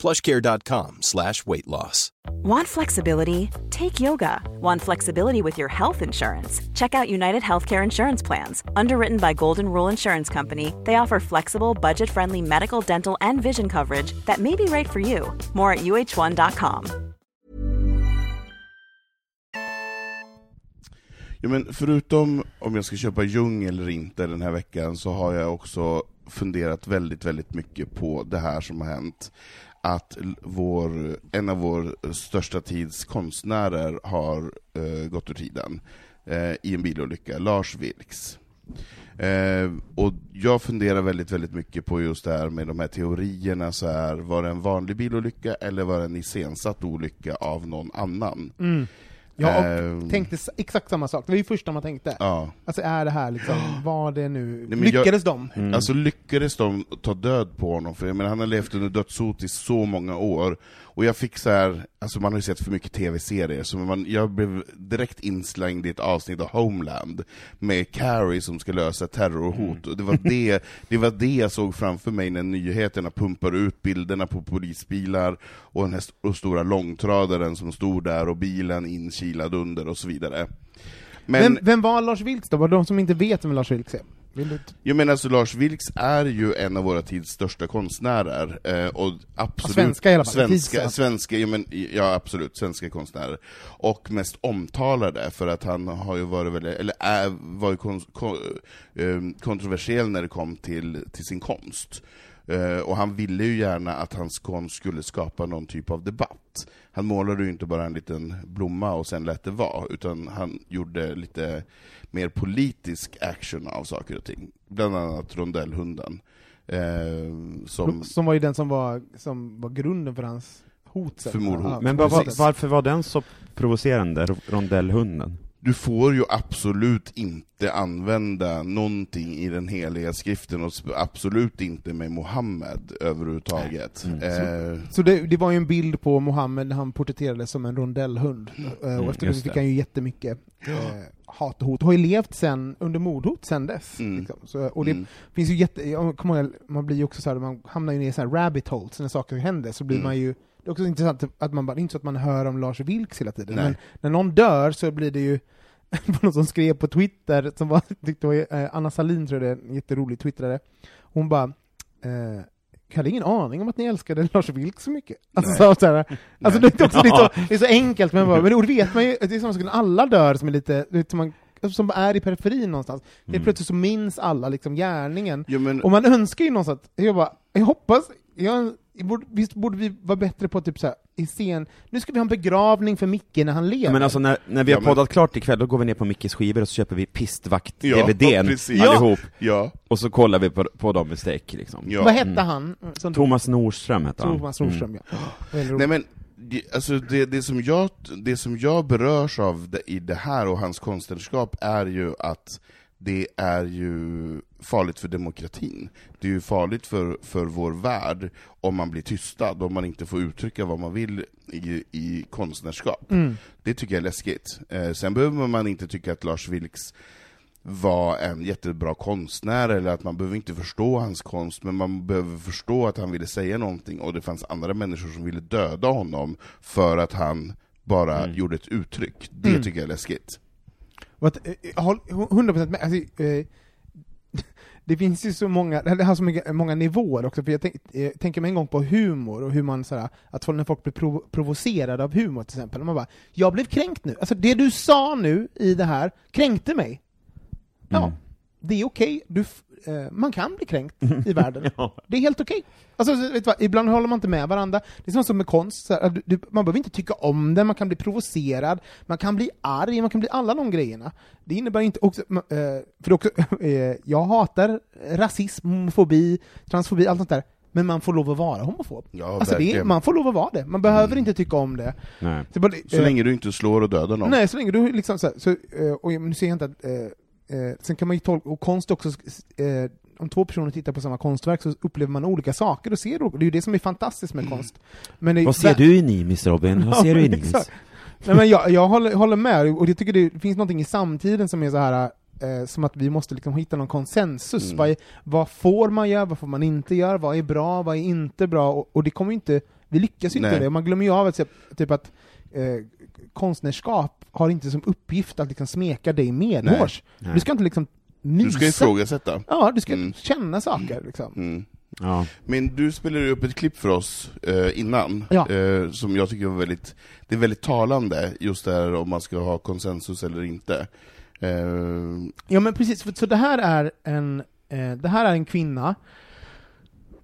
Speaker 7: plushcare.com slash weight loss.
Speaker 1: Want flexibility? Take yoga. Want flexibility with your health insurance? Check out United Healthcare Insurance Plans. Underwritten by Golden Rule Insurance Company, they offer flexible, budget friendly medical, dental, and vision coverage that may be right for you. More at uh1.com.
Speaker 5: Ja, men förutom om jag ska köpa Jung eller inte den här veckan, så har jag också funderat väldigt, väldigt mycket på det här som har hänt. Att l- vår, en av vår största tids konstnärer har eh, gått ur tiden eh, i en bilolycka, Lars Vilks. Eh, och jag funderar väldigt, väldigt mycket på just det här med de här teorierna, så här, var det en vanlig bilolycka eller var det en iscensatt olycka av någon annan?
Speaker 3: Ja, och
Speaker 5: Ehm.
Speaker 3: tänkte s- exakt samma sak. Det var ju första man tänkte.
Speaker 5: Ja.
Speaker 3: Alltså är det här liksom, var det nu...
Speaker 5: men jag-
Speaker 3: Lyckades de?
Speaker 5: Alltså lyckades de ta död på honom? För jag menar, han har levt under dödshot i så många år, och jag fick så här, alltså man har ju sett för mycket tv-serier, så man, jag blev direkt inslängd i ett avsnitt av Homeland, med Carrie som ska lösa terrorhot, och det var det, det var det jag såg framför mig när nyheterna pumpar ut bilderna på polisbilar, och den här st- och stora långtradaren som stod där, och bilen inkilad under, och så vidare.
Speaker 3: Vem, vem var Lars Vilks då? Var det de som inte vet vem Lars Vilks är? Vill du...
Speaker 5: Jag menar alltså Lars Vilks är ju en av våra tids största konstnärer, eh, och absolut...
Speaker 3: svenska i alla fall,
Speaker 5: Svenska,
Speaker 3: tidsa.
Speaker 5: svenska ja, men, ja absolut, svenska konstnärer. Och mest omtalade, för att han har ju varit väldigt, eller är, var ju kon, kon, eh, kontroversiell när det kom till, till sin konst. Eh, Och han ville ju gärna att hans konst skulle skapa någon typ av debatt. Han målade ju inte bara en liten blomma och sen lät det vara, utan han gjorde lite mer politisk action av saker och ting. Bland annat rondellhunden. Eh, som...
Speaker 3: Som var ju den som var, som var grunden för hans hot. sen.
Speaker 5: För mordhot.
Speaker 3: Ja,
Speaker 4: Men var, var,
Speaker 3: precis.
Speaker 4: varför var den så provocerande, ro- rondellhunden?
Speaker 5: Du får ju absolut inte använda någonting i den heliga skriften, och sp- absolut inte med Mohammed överhuvudtaget.
Speaker 4: Mm.
Speaker 5: Eh,
Speaker 3: Så det, det var ju en bild på Mohammed när han porträtterades som en rondellhund,
Speaker 5: Mm.
Speaker 3: Eh, och efter det
Speaker 4: Mm, just
Speaker 3: fick
Speaker 4: det.
Speaker 3: han ju jättemycket eh, hat och hot, har ju levt sen, under mordhot sen dess. Liksom. Så, och det
Speaker 5: Mm.
Speaker 3: finns ju jätte, jag kommer ihåg, man blir ju också så här, man hamnar ju ner i så här rabbit holes när saker händer, så blir
Speaker 5: Mm.
Speaker 3: man ju det är också intressant att man bara, det är inte så att man hör om Lars Vilks hela tiden,
Speaker 5: Nej.
Speaker 3: men när någon dör så blir det ju det var någon som skrev på Twitter, som var, tyckte var, eh, Anna Salin tror jag det är, en jätterolig twittrade, hon bara eh, jag hade ingen aning om att ni älskade Lars Vilks så mycket. Alltså, så så här, alltså det, är också, det, är så, det är så enkelt, men, bara, men det vet man ju, det är samma sak när alla dör som är lite, du vet, som, man, som är i periferin någonstans. Det är plötsligt så minns alla liksom gärningen.
Speaker 5: Mm. jo, men,
Speaker 3: Och man önskar ju någonstans, att- jag bara, jag hoppas, jag, jag borde, visst borde vi vara bättre på typ så här, i scen, nu ska vi ha en begravning för Micke när han lever.
Speaker 4: Men alltså när, när vi har
Speaker 5: Ja, men-
Speaker 4: poddat klart ikväll, då går vi ner på Mickes skivor och så köper vi
Speaker 5: Ja,
Speaker 4: Pistvakt-DVDn
Speaker 5: precis.
Speaker 4: allihop,
Speaker 5: ja,
Speaker 4: och så kollar vi på, på dem med streck liksom.
Speaker 5: alltså, ja. Mm.
Speaker 3: Vad hette han? Som
Speaker 4: Thomas Nordström hette han.
Speaker 3: Thomas Nordström, ja. Väldigt roligt.
Speaker 5: Nej men, det, alltså det, det, som jag, det som jag berörs av det, i det här och hans konstnärskap är ju att det är ju farligt för demokratin. Det är ju farligt för, för vår värld om man blir tystad, om man inte får uttrycka vad man vill i, i konstnärskap. Det tycker jag är läskigt. Eh, sen behöver man inte tycka att Lars Vilks var en jättebra konstnär, eller att man behöver inte förstå hans konst, men man behöver förstå att han ville säga någonting, och det fanns andra människor som ville döda honom för att han bara gjorde ett uttryck. Det
Speaker 3: Mm.
Speaker 5: tycker jag är läskigt.
Speaker 3: Vad- eh, Jag håller 100% med. Alltså, eh, det finns ju så många, det har så mycket, många nivåer också, för jag, tänk, jag tänker mig en gång på humor och hur man sådär, att folk, när folk blir prov, provocerade av humor till exempel, man bara ”jag blev kränkt nu”. Alltså det du sa nu i det här kränkte mig. Ja,
Speaker 5: Mm.
Speaker 3: det är okej. Du f- eh, Man kan bli kränkt i världen. Det är helt okej. Alltså, så- vet du vad, ibland håller man inte med varandra. Det är samma som med konst, så här, att du, du, man behöver inte tycka om den, man kan bli provocerad, man kan bli arg, man kan bli alla de grejerna. Det innebär inte också, ma- eh, för det är också, eh, jag hatar rasism, homofobi, transfobi, allt sånt där, men man får lov att vara homofob.
Speaker 5: Ja,
Speaker 3: alltså det, är-
Speaker 5: verkligen. Mm.
Speaker 3: man får lov att vara det, man behöver inte tycka om det.
Speaker 4: Mm, Nej.
Speaker 3: Så bara-
Speaker 5: Så
Speaker 3: eh,
Speaker 5: länge du inte slår och dödar någon.
Speaker 3: Nej, så länge du liksom så, här, så eh, och jag- nu ser jag inte att, eh, eh, sen kan man ju tolka, och konst också, eh, om två personer tittar på samma konstverk så upplever man olika saker och ser olika, det är ju det som är fantastiskt med konst. Men det,
Speaker 4: Mm. Vad ser du i Nimis Robin? Vad ser du i Nimis?
Speaker 3: Exakt. Nej, men jag, jag håller, håller med, och jag tycker det finns någonting i samtiden som är så här eh, som att vi måste liksom hitta någon konsensus.
Speaker 4: Mm.
Speaker 3: Vad, är, vad får man göra, vad får man inte göra, vad är bra, vad är inte bra? Och, och det kommer ju inte, vi lyckas ju inte
Speaker 5: Nej.
Speaker 3: med det, man glömmer ju av att, se- typ att eh, konstnärskap har inte som uppgift att liksom smeka dig medhårs.
Speaker 4: Nej.
Speaker 3: Du ska inte liksom mysa.
Speaker 5: Du ska ifrågasätta.
Speaker 3: Ja, du ska
Speaker 5: Mm.
Speaker 3: känna saker liksom.
Speaker 5: Mm.
Speaker 4: Ja.
Speaker 5: Men du spelade ju upp ett klipp för oss eh, innan,
Speaker 3: Ja.
Speaker 5: eh, som jag tycker var väldigt, det är väldigt talande, just det här om man ska ha konsensus eller inte. Eh,
Speaker 3: Ja men precis, för, så det här är en, eh, det här är en kvinna,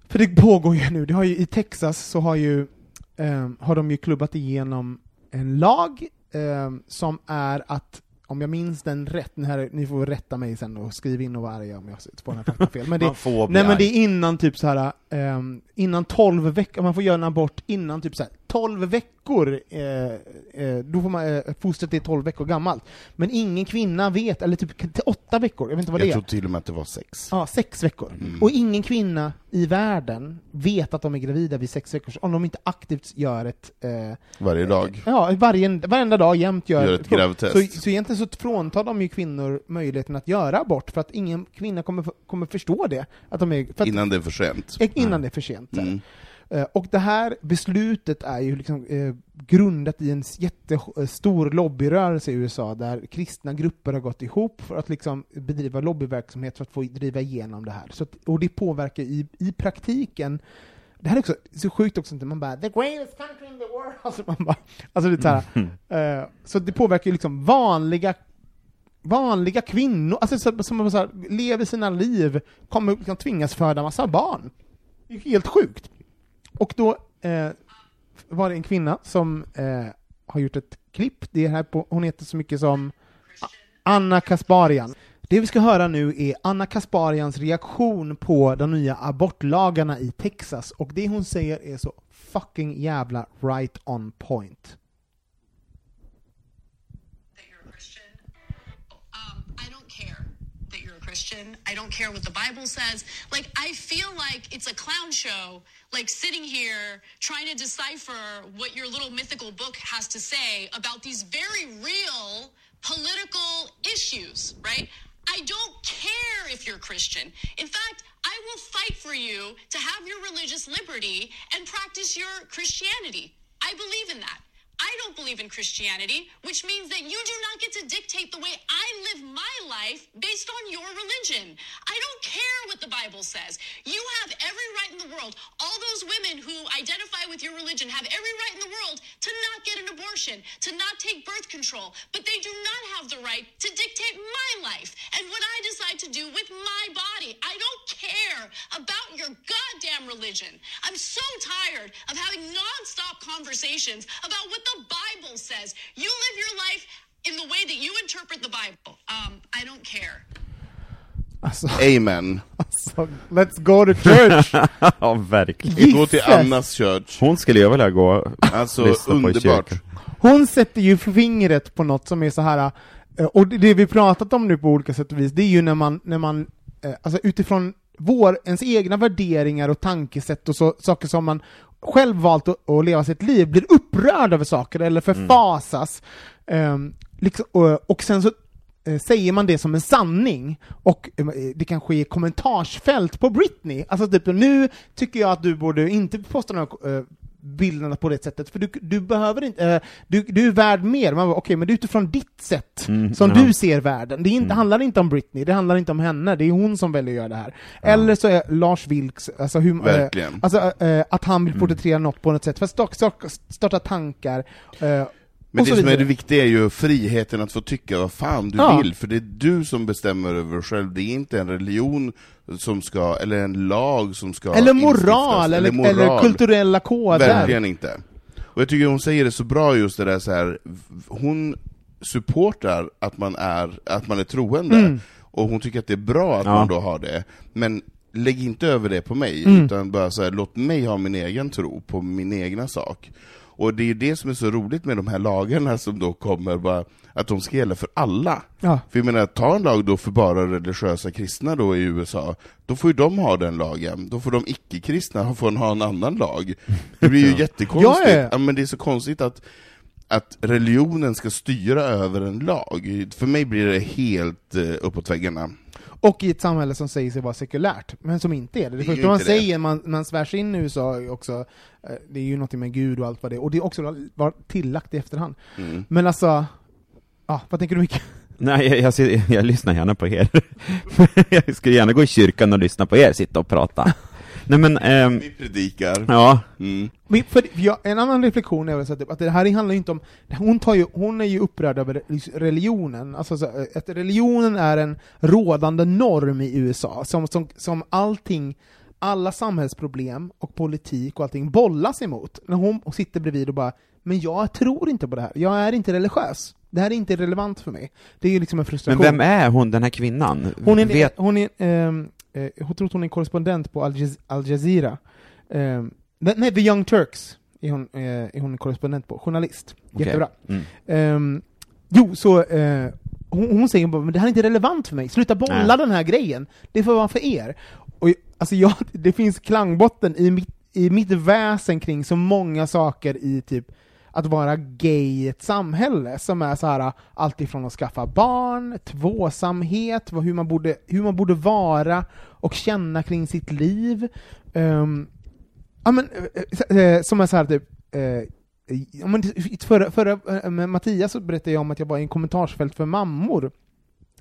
Speaker 3: för det pågår ju nu, det har ju, i Texas så har ju, eh, har de ju klubbat igenom en lag eh, som är att om jag minns den rätt, den här, ni får rätta mig sen och skriv in och vara arga om jag spånar den här faktan fel. Men det,
Speaker 4: Man får bli
Speaker 3: nej men det
Speaker 4: arg.
Speaker 3: är innan typ så här ehm, innan 12 veckor, man får göra en abort innan typ så här 12 veckor, eh, eh, då får man, eh, fostret är 12 veckor gammalt. Men ingen kvinna vet, eller typ till 8 veckor, jag vet inte vad
Speaker 5: jag
Speaker 3: det
Speaker 5: tror
Speaker 3: är.
Speaker 5: till och med att det var sex.
Speaker 3: Ja, sex veckor.
Speaker 5: Mm.
Speaker 3: Och ingen kvinna i världen vet att de är gravida vid sex veckor, om de inte aktivt gör ett eh,
Speaker 5: Varje dag.
Speaker 3: Ja, varje, varenda dag jämt gör,
Speaker 5: Gör ett gravtest.
Speaker 3: Så, så egentligen så fråntar de ju kvinnor möjligheten att göra abort, för att ingen kvinna kommer, f- kommer förstå det. Att de är, för att,
Speaker 5: Innan Mm. det är för sent.
Speaker 3: eh, innan det är för sent. så här. Eh, Och det här beslutet är ju liksom eh, grundat i en s- jättestor lobbyrörelse i USA, där kristna grupper har gått ihop för att liksom bedriva lobbyverksamhet för att få driva igenom det här. Så att, och det påverkar i, i praktiken det här är också så sjukt också, inte man bara ”the greatest country in the world”. Alltså, man bara, alltså det är så, här, eh, så det påverkar ju liksom vanliga vanliga kvinnor, alltså så, som så här, lever sina liv, kommer liksom tvingas föda massa barn. Det är helt sjukt. Och då eh, var det en kvinna som eh, har gjort ett klipp, det är här på, hon heter så mycket som Anna Kasparian. Det vi ska höra nu är Anna Kasparians reaktion på de nya abortlagarna i Texas, och det hon säger är så fucking jävla right on point.
Speaker 8: that you're a Christian. Um, I don't care that you're a Christian. I don't care what the Bible says. Like, I feel like it's a clown show, like sitting here trying to decipher what your little mythical book has to say about these very real political issues, right? I don't care if you're Christian. In fact, I will fight for you to have your religious liberty and practice your Christianity. I believe in that. I don't believe in Christianity, which means that you do not get to dictate the way I live my life based on your religion. I don't care what the Bible says. You have every right in the world. All those women who identify with your religion have every right in the world to not get an abortion, to not take birth control, but they do not have the right to dictate my life and what I decide to do with my body. I don't care about your goddamn religion. I'm so tired of having nonstop conversations about what the Bible says. You live your life in the way that you interpret the Bible. Um, I don't care.
Speaker 3: Alltså,
Speaker 5: Amen.
Speaker 3: alltså let's go to church!
Speaker 4: Ja, verkligen.
Speaker 5: Vi går till
Speaker 3: Jesus.
Speaker 5: Annas church.
Speaker 4: Hon skulle jag vilja gå
Speaker 5: Alltså,
Speaker 4: lyssna på i
Speaker 5: underbart.
Speaker 4: kyrkan.
Speaker 3: Hon sätter ju fingret på något som är så här eh, och det- det vi pratat om nu på olika sätt och vis, det är ju när man, när man eh, alltså utifrån vår, ens egna värderingar och tankesätt och så, saker som man själv valt att, att leva sitt liv, blir upprörd över saker eller förfasas. Ehm, liksom, och, och sen så eh, säger man det som en sanning, och eh, det kan ske i kommentarsfält på Britney. Alltså typ, nu tycker jag att du borde inte posta några eh, bilderna på det sättet, för du, du behöver inte, eh, du, du är värd mer. Man bara, okej, men det är utifrån ditt sätt
Speaker 5: Mm,
Speaker 3: som du ser världen. Det är inte, handlar inte om Britney, det handlar inte om henne, det är hon som väljer att göra det här. Eller så är Lars Vilks, alltså hur, eh,
Speaker 5: Verkligen. Mm.
Speaker 3: Alltså, eh, att han vill porträttera något på något sätt, för att starta, starta tankar, eh,
Speaker 5: Men
Speaker 3: och så
Speaker 5: det som är
Speaker 3: vidare.
Speaker 5: det viktiga är ju friheten att få tycka vad fan du
Speaker 3: Ja.
Speaker 5: vill, för det är du som bestämmer över dig själv, det är inte en religion som ska, eller en lag som ska
Speaker 3: eller
Speaker 5: instiftas,
Speaker 3: moral, eller, eller, kulturella koder.
Speaker 5: Verkligen inte. Och jag tycker hon säger det så bra just det där så här. v- hon supportar att man är, att man är troende, och hon tycker att det är bra att man då har det, men lägg inte över det på mig, utan bara så här, låt mig ha min egen tro på min egna sak. Och det är ju det som är så roligt med de här lagarna som då kommer, bara, att de ska gälla för alla.
Speaker 3: Ja.
Speaker 5: För jag menar, ta en lag då för bara religiösa kristna då i USA, då får ju de ha den lagen, då får de icke-kristna få ha en annan lag. Det blir ju jättekonstigt.
Speaker 3: Ja, ja, ja.
Speaker 5: men det är så konstigt att, att religionen ska styra över en lag. För mig blir det helt eh, uppåt väggarna.
Speaker 3: Och i ett samhälle som säger sig vara sekulärt, men som inte är det. Det,
Speaker 5: är ju
Speaker 3: första man
Speaker 5: inte det.
Speaker 3: säger, man, man svärs in i USA också, eh, det är ju någonting med Gud och allt vad det är, och det är också var tillagt i efterhand.
Speaker 5: Mm.
Speaker 3: Men alltså, ja, vad tänker du Micke?
Speaker 4: Nej, jag, jag, ser- jag lyssnar gärna på er. jag skulle gärna gå i kyrkan och lyssna på er, sitta och prata. Nej men, ehm,
Speaker 5: Vi predikar.
Speaker 4: ja.
Speaker 5: Mm.
Speaker 3: Men för, för jag, en annan reflektion är väl så att, att det här handlar ju inte om... Hon, tar ju, hon är ju upprörd över religionen, alltså så, att religionen är en rådande norm i USA, som, som, som allting, alla samhällsproblem och politik och allting bollas emot. När hon sitter bredvid och bara ”men jag tror inte på det här, jag är inte religiös, det här är inte relevant för mig”. Det är ju liksom en
Speaker 4: Men
Speaker 3: frustration.
Speaker 4: vem är hon, den här kvinnan?
Speaker 3: Hon är,
Speaker 4: Vet,
Speaker 3: hon är, ehm, eh, jag tror att hon är korrespondent på Al, Jaz- Al Jazeera. Ehm, nej, nej, The Young Turks är hon, eh, är hon korrespondent på. Journalist.
Speaker 4: Okej.
Speaker 3: Jättebra.
Speaker 4: Mm.
Speaker 3: Ehm, jo, så eh, hon, hon säger bara men det här är inte relevant för mig, sluta bolla
Speaker 4: Nej.
Speaker 3: den här grejen, det får vara för er. Och, alltså, jag, det finns klangbotten i mitt, i mitt väsen kring så många saker i typ att vara gay i ett samhälle som är så här allt ifrån att skaffa barn, tvåsamhet, vad- hur man borde, hur man borde vara och känna kring sitt liv. Ehm, Ja men, eh, eh, som är så här typ, eh, ja, men, i- förra, förra eh, med Mattias så berättade jag om att jag var i en kommentarsfält för mammor.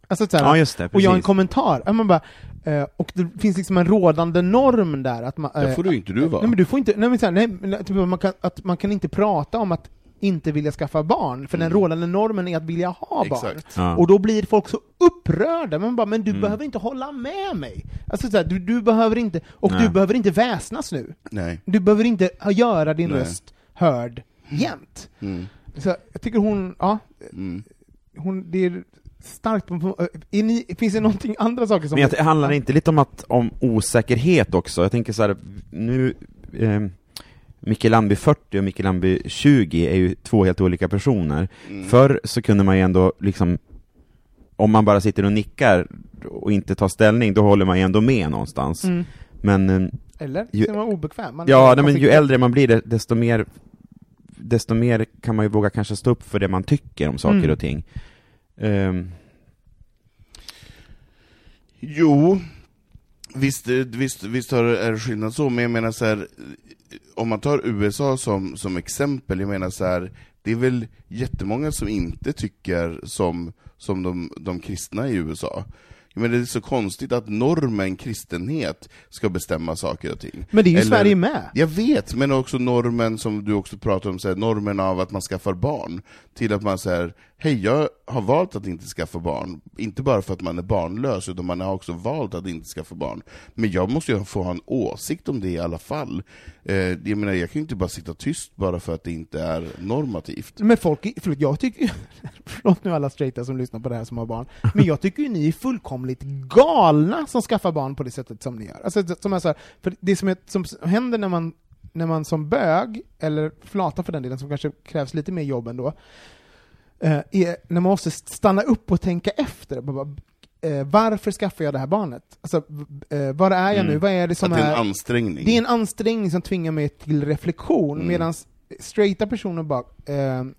Speaker 3: Alltså så här,
Speaker 4: ja just det,
Speaker 3: och
Speaker 4: precis.
Speaker 3: jag har en kommentar. Ja, man bara, eh, och det finns liksom en rådande norm där att man... eh,
Speaker 5: Där får du inte du vara.
Speaker 3: Nej men du får inte, nej men såhär, nej, men typ, man kan, att man kan inte prata om att inte vilja skaffa barn, för
Speaker 4: Mm.
Speaker 3: den rådande normen är att vilja ha barn.
Speaker 5: Exakt.
Speaker 4: Ja.
Speaker 3: Och då blir folk så upprörda, men bara 'men
Speaker 4: Mm.
Speaker 3: du behöver inte hålla med mig' Alltså såhär, du, du behöver inte, och
Speaker 4: Nej.
Speaker 3: du behöver inte väsnas nu.
Speaker 5: Nej.
Speaker 3: Du behöver inte ha- göra din
Speaker 5: Nej.
Speaker 3: röst hörd jämt.
Speaker 5: Mm.
Speaker 3: Så jag tycker hon, ja,
Speaker 5: Mm.
Speaker 3: hon, det är starkt. Är ni, finns det någonting andra saker som...
Speaker 4: Men jag, det handlar inte lite om, att, om osäkerhet också? Jag tänker så här, nu, eh, Micke Landby 40 och Micke Landby 20 är ju två helt olika personer.
Speaker 3: Mm.
Speaker 4: Förr så kunde man ju ändå liksom, om man bara sitter och nickar och inte tar ställning, då håller man ju ändå med någonstans.
Speaker 3: Mm.
Speaker 4: Men eh,
Speaker 3: Eller?
Speaker 4: ju-
Speaker 3: Ju, man obekväm? Man
Speaker 4: Ja, nej, men ju äldre man blir, de- desto mer, desto mer kan man ju våga kanske stå upp för det man tycker om saker
Speaker 3: Mm.
Speaker 4: och ting. Ehm,
Speaker 5: Jo, visst, eh, visst, visst har, är det skillnad så, men jag menar så här, eh, om man tar USA som, som exempel, jag menar så här, det är väl jättemånga som inte tycker som, som de, de kristna i USA. Men det är så konstigt att normen kristenhet ska bestämma saker och ting.
Speaker 3: Men det är ju
Speaker 5: Eller-
Speaker 3: Sverige med.
Speaker 5: Jag vet, men också normen som du också pratar om, så här, normen av att man skaffar barn, till att man säger hej jag har valt att inte skaffa barn, inte bara för att man är barnlös, utan man har också valt att inte skaffa barn. Men jag måste ju få ha en åsikt om det i alla fall. Eh, jag menar, jag kan ju inte bara sitta tyst bara för att det inte är normativt.
Speaker 3: Men folk, är- förlåt, jag tycker förlåt nu alla straighta som lyssnar på det här som har barn, men jag tycker ju ni är fullkomligt galna som skaffar barn på det sättet som ni gör. Alltså, det- som är så här, för det som, är, som s- händer när man, när man som bög, eller flata för den delen, som kanske krävs lite mer jobb ändå, eh, är när man måste stanna upp och tänka efter. Bara, bara, eh, varför skaffar jag det här barnet? Alltså, v- eh, var är jag nu? Vad är det som
Speaker 5: Mm. att det är en
Speaker 3: är...
Speaker 5: ansträngning.
Speaker 3: Det är en ansträngning som tvingar mig till reflektion,
Speaker 5: Mm.
Speaker 3: medan straighta personer bara ehm,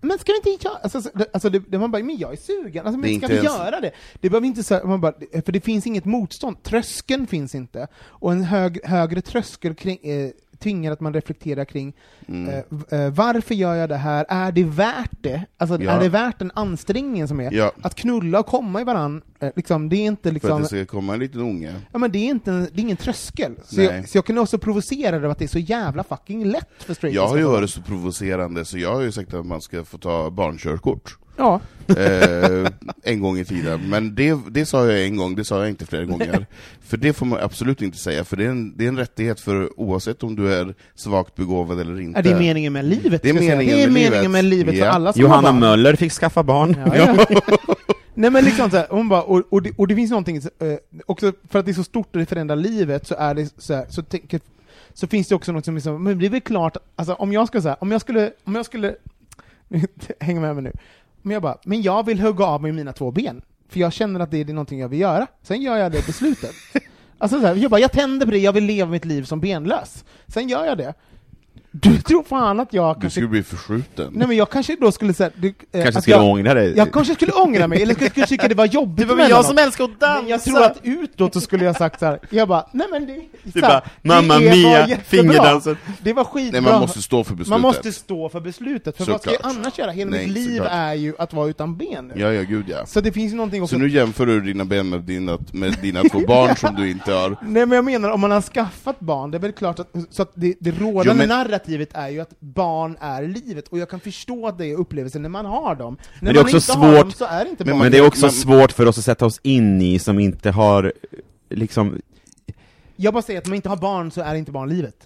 Speaker 3: men ska vi inte göra... Alltså, så- det- alltså det, det, man bara, men jag är sugen, alltså,
Speaker 5: Det är
Speaker 3: men ska
Speaker 5: inte
Speaker 3: vi
Speaker 5: ens-
Speaker 3: göra det? Det behöver inte så, här- man bara, för det finns inget motstånd, tröskeln finns inte. Och en hög, högre tröskel kring, eh, tvingar att man reflekterar kring
Speaker 5: Mm.
Speaker 3: eh, v- eh, varför gör jag det här? Är det värt det? Alltså,
Speaker 5: Ja.
Speaker 3: är det värt den ansträngningen som är?
Speaker 5: Ja.
Speaker 3: Att knulla och komma i varann, eh, liksom, det är inte
Speaker 5: för att
Speaker 3: liksom...
Speaker 5: det ska komma en liten unge.
Speaker 3: Ja men det är, inte, en- det är ingen tröskel. Så
Speaker 5: Nej.
Speaker 3: jag, så jag kan också provocera över att det är så jävla fucking lätt för straighta
Speaker 5: Jag har ju
Speaker 3: att-
Speaker 5: varit så provocerande så jag har ju sagt att man ska få ta barnkörkort.
Speaker 3: Ja,
Speaker 5: eh, en gång i tiden, men det, det sa jag en gång, det sa jag inte flera gånger. För det får man absolut inte säga, för det är en, det är en rättighet för oavsett om du är svagt begåvad eller inte.
Speaker 3: är det är meningen med livet.
Speaker 5: Eh, Det är
Speaker 3: ska jag säga.
Speaker 5: meningen
Speaker 3: det är
Speaker 5: med
Speaker 3: meningen
Speaker 5: livet.
Speaker 3: med livet
Speaker 5: Ja.
Speaker 3: för alla som
Speaker 4: Johanna
Speaker 3: har barn.
Speaker 4: Möller fick skaffa barn.
Speaker 3: Ja, ja. Nej men liksom så här, hon bara, och, och, det, och det finns någonting, eh, också för att det är så stort och det förändrar livet så är det så här, så tänker, så finns det också något som är så, men det är väl klart, alltså om jag ska säga, om jag skulle, om jag skulle, häng med mig nu, men jag bara, men jag vill hugga av mig mina två ben, för jag känner att det är någonting jag vill göra, sen gör jag det beslutet. alltså så här, jag bara, jag tänder på det, jag vill leva mitt liv som benlös, sen gör jag det. Du tror fan att jag
Speaker 5: Du
Speaker 3: kanske...
Speaker 5: skulle bli förskjuten.
Speaker 3: Nej men jag kanske då skulle säga... Du, eh,
Speaker 2: Kanske
Speaker 3: att
Speaker 2: skulle
Speaker 3: jag,
Speaker 2: ångra dig.
Speaker 3: Jag kanske skulle ångra mig, eller skulle, skulle tycka det var jobbigt
Speaker 4: Det var
Speaker 3: med
Speaker 4: väl jag
Speaker 3: honom.
Speaker 4: som älskar att dansa!
Speaker 3: Men jag tror att utåt så skulle jag sagt så här. jag bara, nej men det...
Speaker 4: Du
Speaker 3: så här,
Speaker 4: bara, Mamma
Speaker 3: det var
Speaker 4: Mia,
Speaker 3: jättebra.
Speaker 4: fingerdansen.
Speaker 3: Det var skitbra.
Speaker 5: Nej, man måste stå för beslutet.
Speaker 3: Man måste stå för beslutet, för vad ska jag
Speaker 5: Såklart.
Speaker 3: annars göra? Hela
Speaker 5: Nej,
Speaker 3: mitt liv
Speaker 5: såklart.
Speaker 3: är ju att vara utan ben nu.
Speaker 5: Ja, ja, gud ja.
Speaker 3: Så det finns ju någonting också...
Speaker 5: Så nu jämför du dina ben med dina, med dina två barn som du inte har.
Speaker 3: Nej men jag menar, om man har skaffat barn, det är väl klart att, så att det, det rådande
Speaker 5: Jo, men-
Speaker 3: narrativet är ju att barn är livet, och jag kan förstå det i upplevelsen när man har dem. När
Speaker 4: det är
Speaker 3: man
Speaker 4: också
Speaker 3: inte har dem
Speaker 4: svårt-
Speaker 3: så är det inte
Speaker 5: Men
Speaker 3: barn.
Speaker 4: Men det är också
Speaker 5: Man-
Speaker 4: svårt för oss att sätta oss in i som inte har, liksom,
Speaker 3: Jag bara säger att om man inte har barn så är inte barn livet.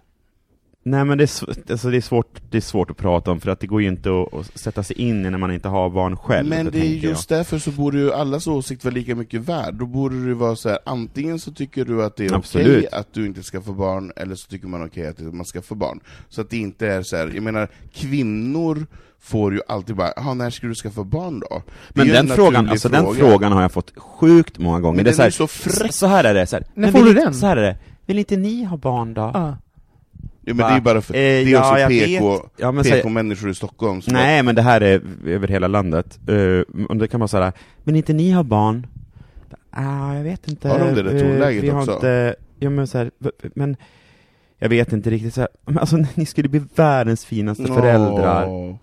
Speaker 4: nej men det är, sv- alltså det, är svårt, det är svårt att prata om för att det går ju inte att, att sätta sig in i när man inte har barn själv.
Speaker 5: Men det är
Speaker 4: tänker jag.
Speaker 5: just därför så borde ju allas åsikt vara lika mycket värd. Då borde det vara så här, antingen så tycker du att det är okej
Speaker 4: Absolut.
Speaker 5: att du inte ska få barn, eller så tycker man okej att man ska få barn. Så att det inte är så här, jag menar, kvinnor får ju alltid bara, "Jaha, när ska du skaffa barn då? Det är
Speaker 4: Men
Speaker 5: ju en
Speaker 4: den frågan,
Speaker 5: naturlig
Speaker 4: alltså den frågan har jag fått sjukt många gånger.
Speaker 5: Men
Speaker 4: det är
Speaker 5: den
Speaker 4: så, här,
Speaker 5: är ju så fräck.
Speaker 4: så här är det, så här.
Speaker 3: När
Speaker 4: "Men
Speaker 3: får
Speaker 4: vill
Speaker 3: du
Speaker 4: inte-
Speaker 3: den?"
Speaker 4: Så här är det. Vill inte ni ha barn då?
Speaker 3: Ah.
Speaker 5: Ja, men det är ju bara för,
Speaker 4: Eh,
Speaker 5: det är
Speaker 4: ja,
Speaker 5: också
Speaker 4: jag
Speaker 5: PK,
Speaker 4: vet. Ja, men säg-
Speaker 5: PK-människor i Stockholm som
Speaker 4: Nej, men det här är över hela landet. Eh, Om det kan vara så här, vill inte ni ha barn? Ah, jag vet inte.
Speaker 5: Har de det där
Speaker 4: Eh,
Speaker 5: tonläget
Speaker 4: vi har
Speaker 5: också?
Speaker 4: Inte, ja, men så här, v- men jag vet inte riktigt så här, men alltså ni skulle bli världens finaste
Speaker 5: Åh.
Speaker 4: föräldrar.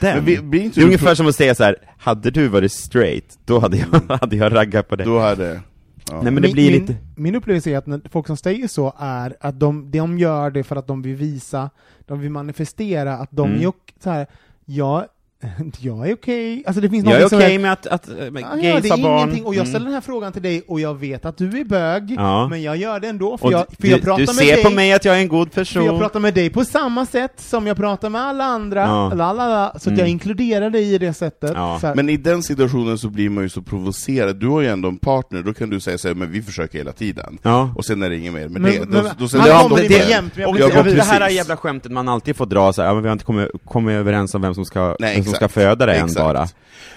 Speaker 4: Den.
Speaker 5: Men vi, blir inte
Speaker 4: det är
Speaker 5: du
Speaker 4: ungefär som att säga så här, hade du varit straight, då hade jag, hade jag raggat på dig.
Speaker 5: Då hade... Ja.
Speaker 4: Nej men det blir
Speaker 3: min,
Speaker 4: lite...
Speaker 3: min upplevelse är att när folk som säger så är att de, de gör det för att de vill visa, de vill manifestera att de
Speaker 4: Mm.
Speaker 3: är ok- så här, jag, jag är okej, alltså det finns
Speaker 4: Jag är
Speaker 3: något
Speaker 4: okej
Speaker 3: som är
Speaker 4: med att, att äh, med
Speaker 3: Ah, ja,
Speaker 4: gays
Speaker 3: det är
Speaker 4: har barn. Mm.
Speaker 3: ingenting, och jag ställer den här frågan till dig, och jag vet att du är bög,
Speaker 4: Ja.
Speaker 3: men jag gör det ändå, för,
Speaker 4: Och
Speaker 3: jag, för
Speaker 4: du,
Speaker 3: jag pratar
Speaker 4: du
Speaker 3: med
Speaker 4: ser
Speaker 3: dig,
Speaker 4: på mig att jag är en god
Speaker 3: för jag
Speaker 4: person.
Speaker 3: pratar med dig på samma sätt som jag pratar med alla andra,
Speaker 4: Ja.
Speaker 3: la, la, la, så att
Speaker 4: Mm.
Speaker 3: jag inkluderar dig i det sättet.
Speaker 4: Ja.
Speaker 3: Så här,
Speaker 5: Men i den situationen så blir man ju så provocerad, du har ju ändå en partner, då kan du säga så här, men vi försöker hela tiden.
Speaker 4: Ja.
Speaker 5: Och sen är det inget mer med
Speaker 3: Men-
Speaker 5: det.
Speaker 3: men-
Speaker 5: Då, då
Speaker 3: han
Speaker 5: säger
Speaker 3: kommer
Speaker 5: jag,
Speaker 3: in med
Speaker 5: "Stopp där."
Speaker 3: jämt, men jag
Speaker 4: och
Speaker 3: blir-
Speaker 5: Ja,
Speaker 4: det,
Speaker 5: men
Speaker 4: det här är
Speaker 5: precis.
Speaker 4: jävla skämtet man alltid får dra, så här, "Ja, men vi har inte kommit, kommit överens om vem som ska,
Speaker 5: Nej,
Speaker 4: vem som ska
Speaker 5: exakt.
Speaker 4: föda det än
Speaker 5: Exakt.
Speaker 4: bara.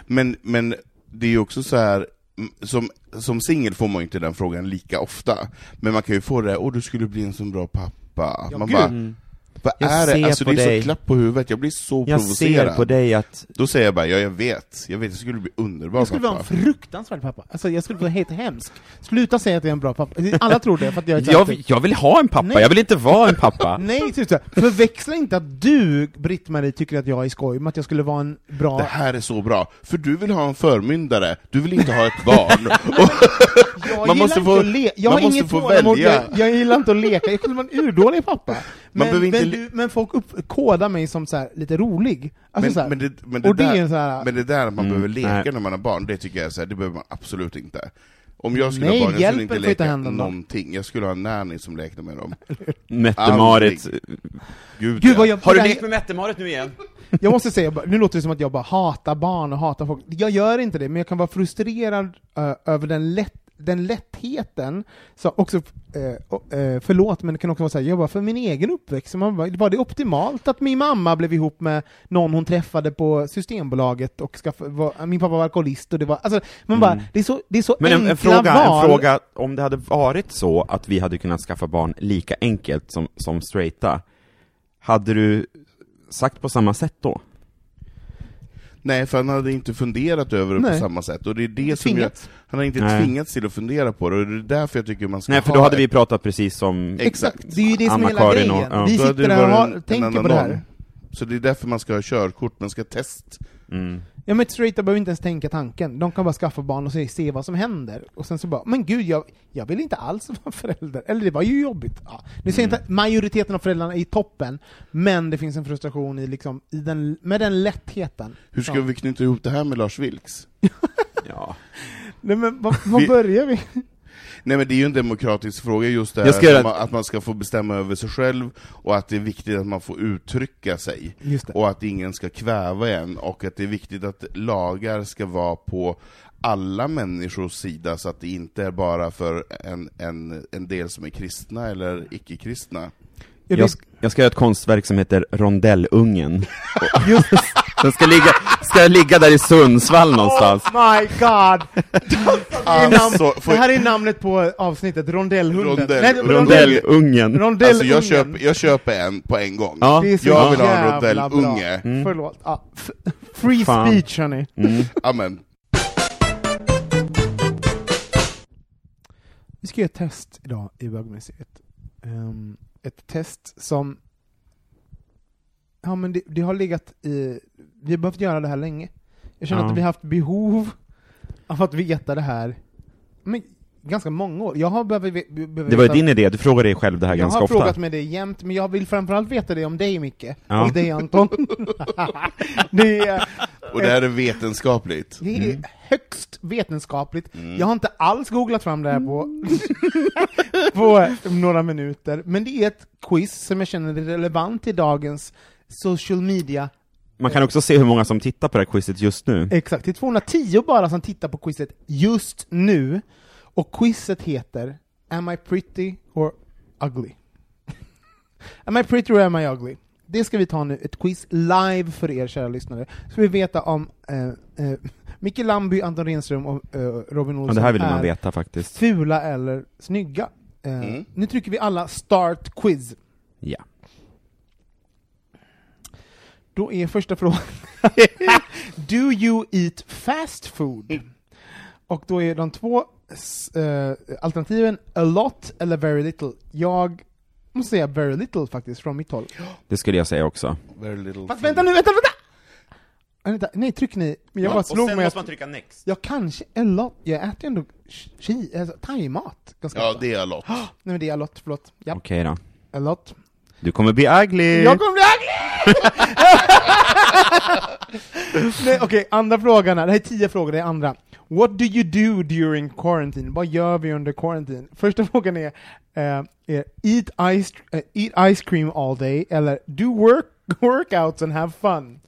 Speaker 5: Men, men det är ju också så här m- som, som singel får man ju inte den frågan lika ofta, men man kan ju få det här, åh du skulle bli en så bra pappa.
Speaker 3: Ja,
Speaker 5: man
Speaker 3: gud.
Speaker 5: bara, vad
Speaker 4: Jag
Speaker 5: är
Speaker 4: ser
Speaker 5: det? Alltså
Speaker 4: på
Speaker 5: det är
Speaker 4: dig.
Speaker 5: så klapp på huvudet, jag blir så
Speaker 4: Jag
Speaker 5: provocerad.
Speaker 4: ser på dig att,
Speaker 5: Då säger jag bara, ja jag vet, jag vet, jag skulle bli underbar
Speaker 3: jag skulle vara
Speaker 5: pappa.
Speaker 3: en fruktansvärd pappa, alltså jag skulle vara helt hemsk. Sluta säga att jag är en bra pappa, alla tror det för att jag är så här
Speaker 4: jag,
Speaker 3: typ-
Speaker 4: jag vill ha en pappa,
Speaker 3: Nej.
Speaker 4: jag vill inte vara en pappa.
Speaker 3: Nej, typ så här, förväxla inte att du, Britt-Marie, tycker att jag är skoj med att jag skulle vara en bra...
Speaker 5: Det här är så bra, för du vill ha en förmyndare, du vill inte ha ett barn. Och-
Speaker 3: Jag
Speaker 5: Man
Speaker 3: gillar
Speaker 5: måste
Speaker 3: inte
Speaker 5: få-
Speaker 3: att le- jag
Speaker 5: man
Speaker 3: har
Speaker 5: måste
Speaker 3: inget
Speaker 5: få
Speaker 3: tålamod,
Speaker 5: välja.
Speaker 3: jag, jag gillar inte att leka, jag skulle vara en urdålig pappa. Men,
Speaker 5: behöver inte
Speaker 3: men,
Speaker 5: le-
Speaker 3: du, men folk upp, kodar mig som så här, lite rolig. Alltså
Speaker 5: men,
Speaker 3: så här,
Speaker 5: men, det, men, det
Speaker 3: och det är
Speaker 5: där,
Speaker 3: en så här-
Speaker 5: men det där att man
Speaker 4: Mm,
Speaker 5: behöver leka
Speaker 4: nej.
Speaker 5: när man har barn, det tycker jag är så här, det behöver man absolut inte. Om jag skulle
Speaker 3: Nej,
Speaker 5: ha barn, jag
Speaker 3: hjälpen
Speaker 5: skulle inte
Speaker 3: får inte
Speaker 5: leka
Speaker 3: hända någon.
Speaker 5: någonting. Jag skulle ha en nanny som lekte med dem.
Speaker 4: Mette-Marit.
Speaker 5: Gud,
Speaker 3: Gud,
Speaker 5: ja.
Speaker 3: vad jag, det där-
Speaker 4: med Mette-Marit nu igen?
Speaker 3: jag måste säga, bara- nu låter det som att jag bara hatar barn och hatar folk. Jag gör inte det, men jag kan vara frustrerad eh, över den, lätt, den lättheten. Så också, eh, och, eh, förlåt, men det kan också vara så här, jag bara, för min egen uppväxt, så man bara, var det optimalt att min mamma blev ihop med någon hon träffade på Systembolaget och skaffa, var, min pappa var alkoholist och det var, alltså, man bara, det är så, det är så
Speaker 4: Mm. Men en,
Speaker 3: enkla
Speaker 4: en, fråga,
Speaker 3: val.
Speaker 4: en fråga, om det hade varit så att vi hade kunnat skaffa barn lika enkelt som, som straighta, hade du sagt på samma sätt då?
Speaker 5: Nej, för han hade inte funderat över det
Speaker 3: Nej.
Speaker 5: på samma sätt. Och det är det som jag,
Speaker 3: Tvingats.
Speaker 5: han har inte
Speaker 4: Nej.
Speaker 5: tvingats till att fundera på det, och det är därför jag tycker man ska
Speaker 4: Nej, för
Speaker 5: ha
Speaker 4: då hade
Speaker 5: ett-
Speaker 4: vi pratat precis som...
Speaker 5: Exakt.
Speaker 3: Det är ju det som är hela
Speaker 4: Anna-Karin och-
Speaker 3: grejen.
Speaker 4: ja.
Speaker 3: Vi
Speaker 5: Då hade
Speaker 3: sitter
Speaker 5: det
Speaker 3: här och
Speaker 5: varit
Speaker 3: har,
Speaker 5: en- en
Speaker 3: tänker
Speaker 5: annan
Speaker 3: på det här.
Speaker 5: norm. Så det är därför man ska ha körkort, man ska test.
Speaker 4: Mm.
Speaker 3: Ja men straighta behöver inte ens tänka tanken, de kan bara skaffa barn och se, se vad som händer. Och sen så bara, men gud, jag, jag vill inte alls vara förälder. Eller det var ju jobbigt. Ja. Nu
Speaker 5: Mm.
Speaker 3: säger jag inte att majoriteten av föräldrarna är i toppen, men det finns en frustration i, liksom, i den, med den lättheten.
Speaker 5: Hur ska
Speaker 3: Ja.
Speaker 5: vi knyta ihop det här med Lars Vilks?
Speaker 4: Ja.
Speaker 3: Nej men, var, var
Speaker 5: Vi-
Speaker 3: börjar vi?
Speaker 5: Nej men det är ju en demokratisk fråga just det
Speaker 4: Jag
Speaker 5: här
Speaker 4: ska göra
Speaker 5: att, man, att man ska få bestämma över sig själv, och att det är viktigt att man får uttrycka sig.
Speaker 3: Just det.
Speaker 5: och att ingen ska kväva en, och att det är viktigt att lagar ska vara på alla människors sida, så att det inte är bara för en, en, en del som är kristna eller icke-kristna.
Speaker 3: Jag
Speaker 4: Jag,
Speaker 3: vill,
Speaker 4: sk- jag ska göra ett konstverk som heter Rondellungen.
Speaker 3: just,
Speaker 4: Den ska ligga, ska ligga där i Sundsvall någonstans.
Speaker 3: Oh my god!
Speaker 5: Alltså, får-
Speaker 3: det här är namnet på avsnittet, Rondellhunden.
Speaker 5: Rondell-
Speaker 3: Nej, det-
Speaker 4: Rondell, ungen.
Speaker 3: Rondellungen.
Speaker 5: alltså jag, köper, jag köper en på en gång.
Speaker 4: Ja.
Speaker 3: Det är så
Speaker 5: jag vill ha en
Speaker 3: jävla
Speaker 5: rondell
Speaker 3: bra.
Speaker 5: unge.
Speaker 3: Förlåt. Ja, f- free
Speaker 4: Fan.
Speaker 3: speech hörni.
Speaker 4: Mm.
Speaker 5: Amen.
Speaker 3: Vi ska göra ett test idag i bögmuseet. Ehm, ett test som... Ja, men det, det har legat i... Vi har behövt göra det här länge. Jag känner
Speaker 4: Ja.
Speaker 3: att vi har haft behov av att veta det här men, ganska många år. Jag har behövt, ve- behövt
Speaker 4: Det var ju
Speaker 3: veta-
Speaker 4: din idé, du frågar dig själv det här
Speaker 3: Jag
Speaker 4: ganska
Speaker 3: har
Speaker 4: ofta.
Speaker 3: frågat mig det jämt, men jag vill framförallt veta det om dig Micke,
Speaker 4: Ja.
Speaker 3: och dig Anton. det är,
Speaker 5: Och det här är vetenskapligt.
Speaker 3: det är högst vetenskapligt. Jag har inte alls googlat fram det här på, på några minuter, men det är ett quiz som jag känner är relevant till dagens social media.
Speaker 4: Man kan också se hur många som tittar på det här quizet just nu.
Speaker 3: Exakt, det är 210 bara som tittar på quizet just nu. Och quizet heter Am I pretty or ugly? am I pretty or am I ugly? Det ska vi ta nu, ett quiz live för er kära lyssnare. Så vi veta om eh, eh, Micke Lamby, Anton Renström och eh, Robin
Speaker 4: Ja,
Speaker 3: Olsson
Speaker 4: det här vill man
Speaker 3: är
Speaker 4: veta faktiskt.
Speaker 3: fula eller snygga. Eh, Nu trycker vi alla start quiz.
Speaker 4: Ja.
Speaker 3: Då är första frågan Do you eat fast food? Och då är de två s- eh, alternativen a lot eller very little. Jag måste säga very little faktiskt, från mitt håll.
Speaker 4: Det skulle jag säga också.
Speaker 5: Very little
Speaker 3: Fast vänta nu, vänta, vänta! Ah, vänta! Nej, tryck ni. Men jag bara slog mig att
Speaker 4: trycka next.
Speaker 3: jag kanske a lot, jag äter ju ändå chi- chi, alltså, thaimat ganska
Speaker 5: Ja,
Speaker 3: ofta.
Speaker 5: det är jag lott.
Speaker 3: Nej men det är a lot, förlåt. Ja,
Speaker 4: Okej då.
Speaker 3: a lot.
Speaker 4: Du kommer bli ugly!
Speaker 3: Jag kommer bli ugly! Nej, Okej, andra frågan här. Det här är tio frågor, det är andra. What do you do during quarantine? Vad gör vi under quarantine? Första frågan är, eh, är eat, ice, eh, eat ice cream all day, eller do work, workouts and have fun.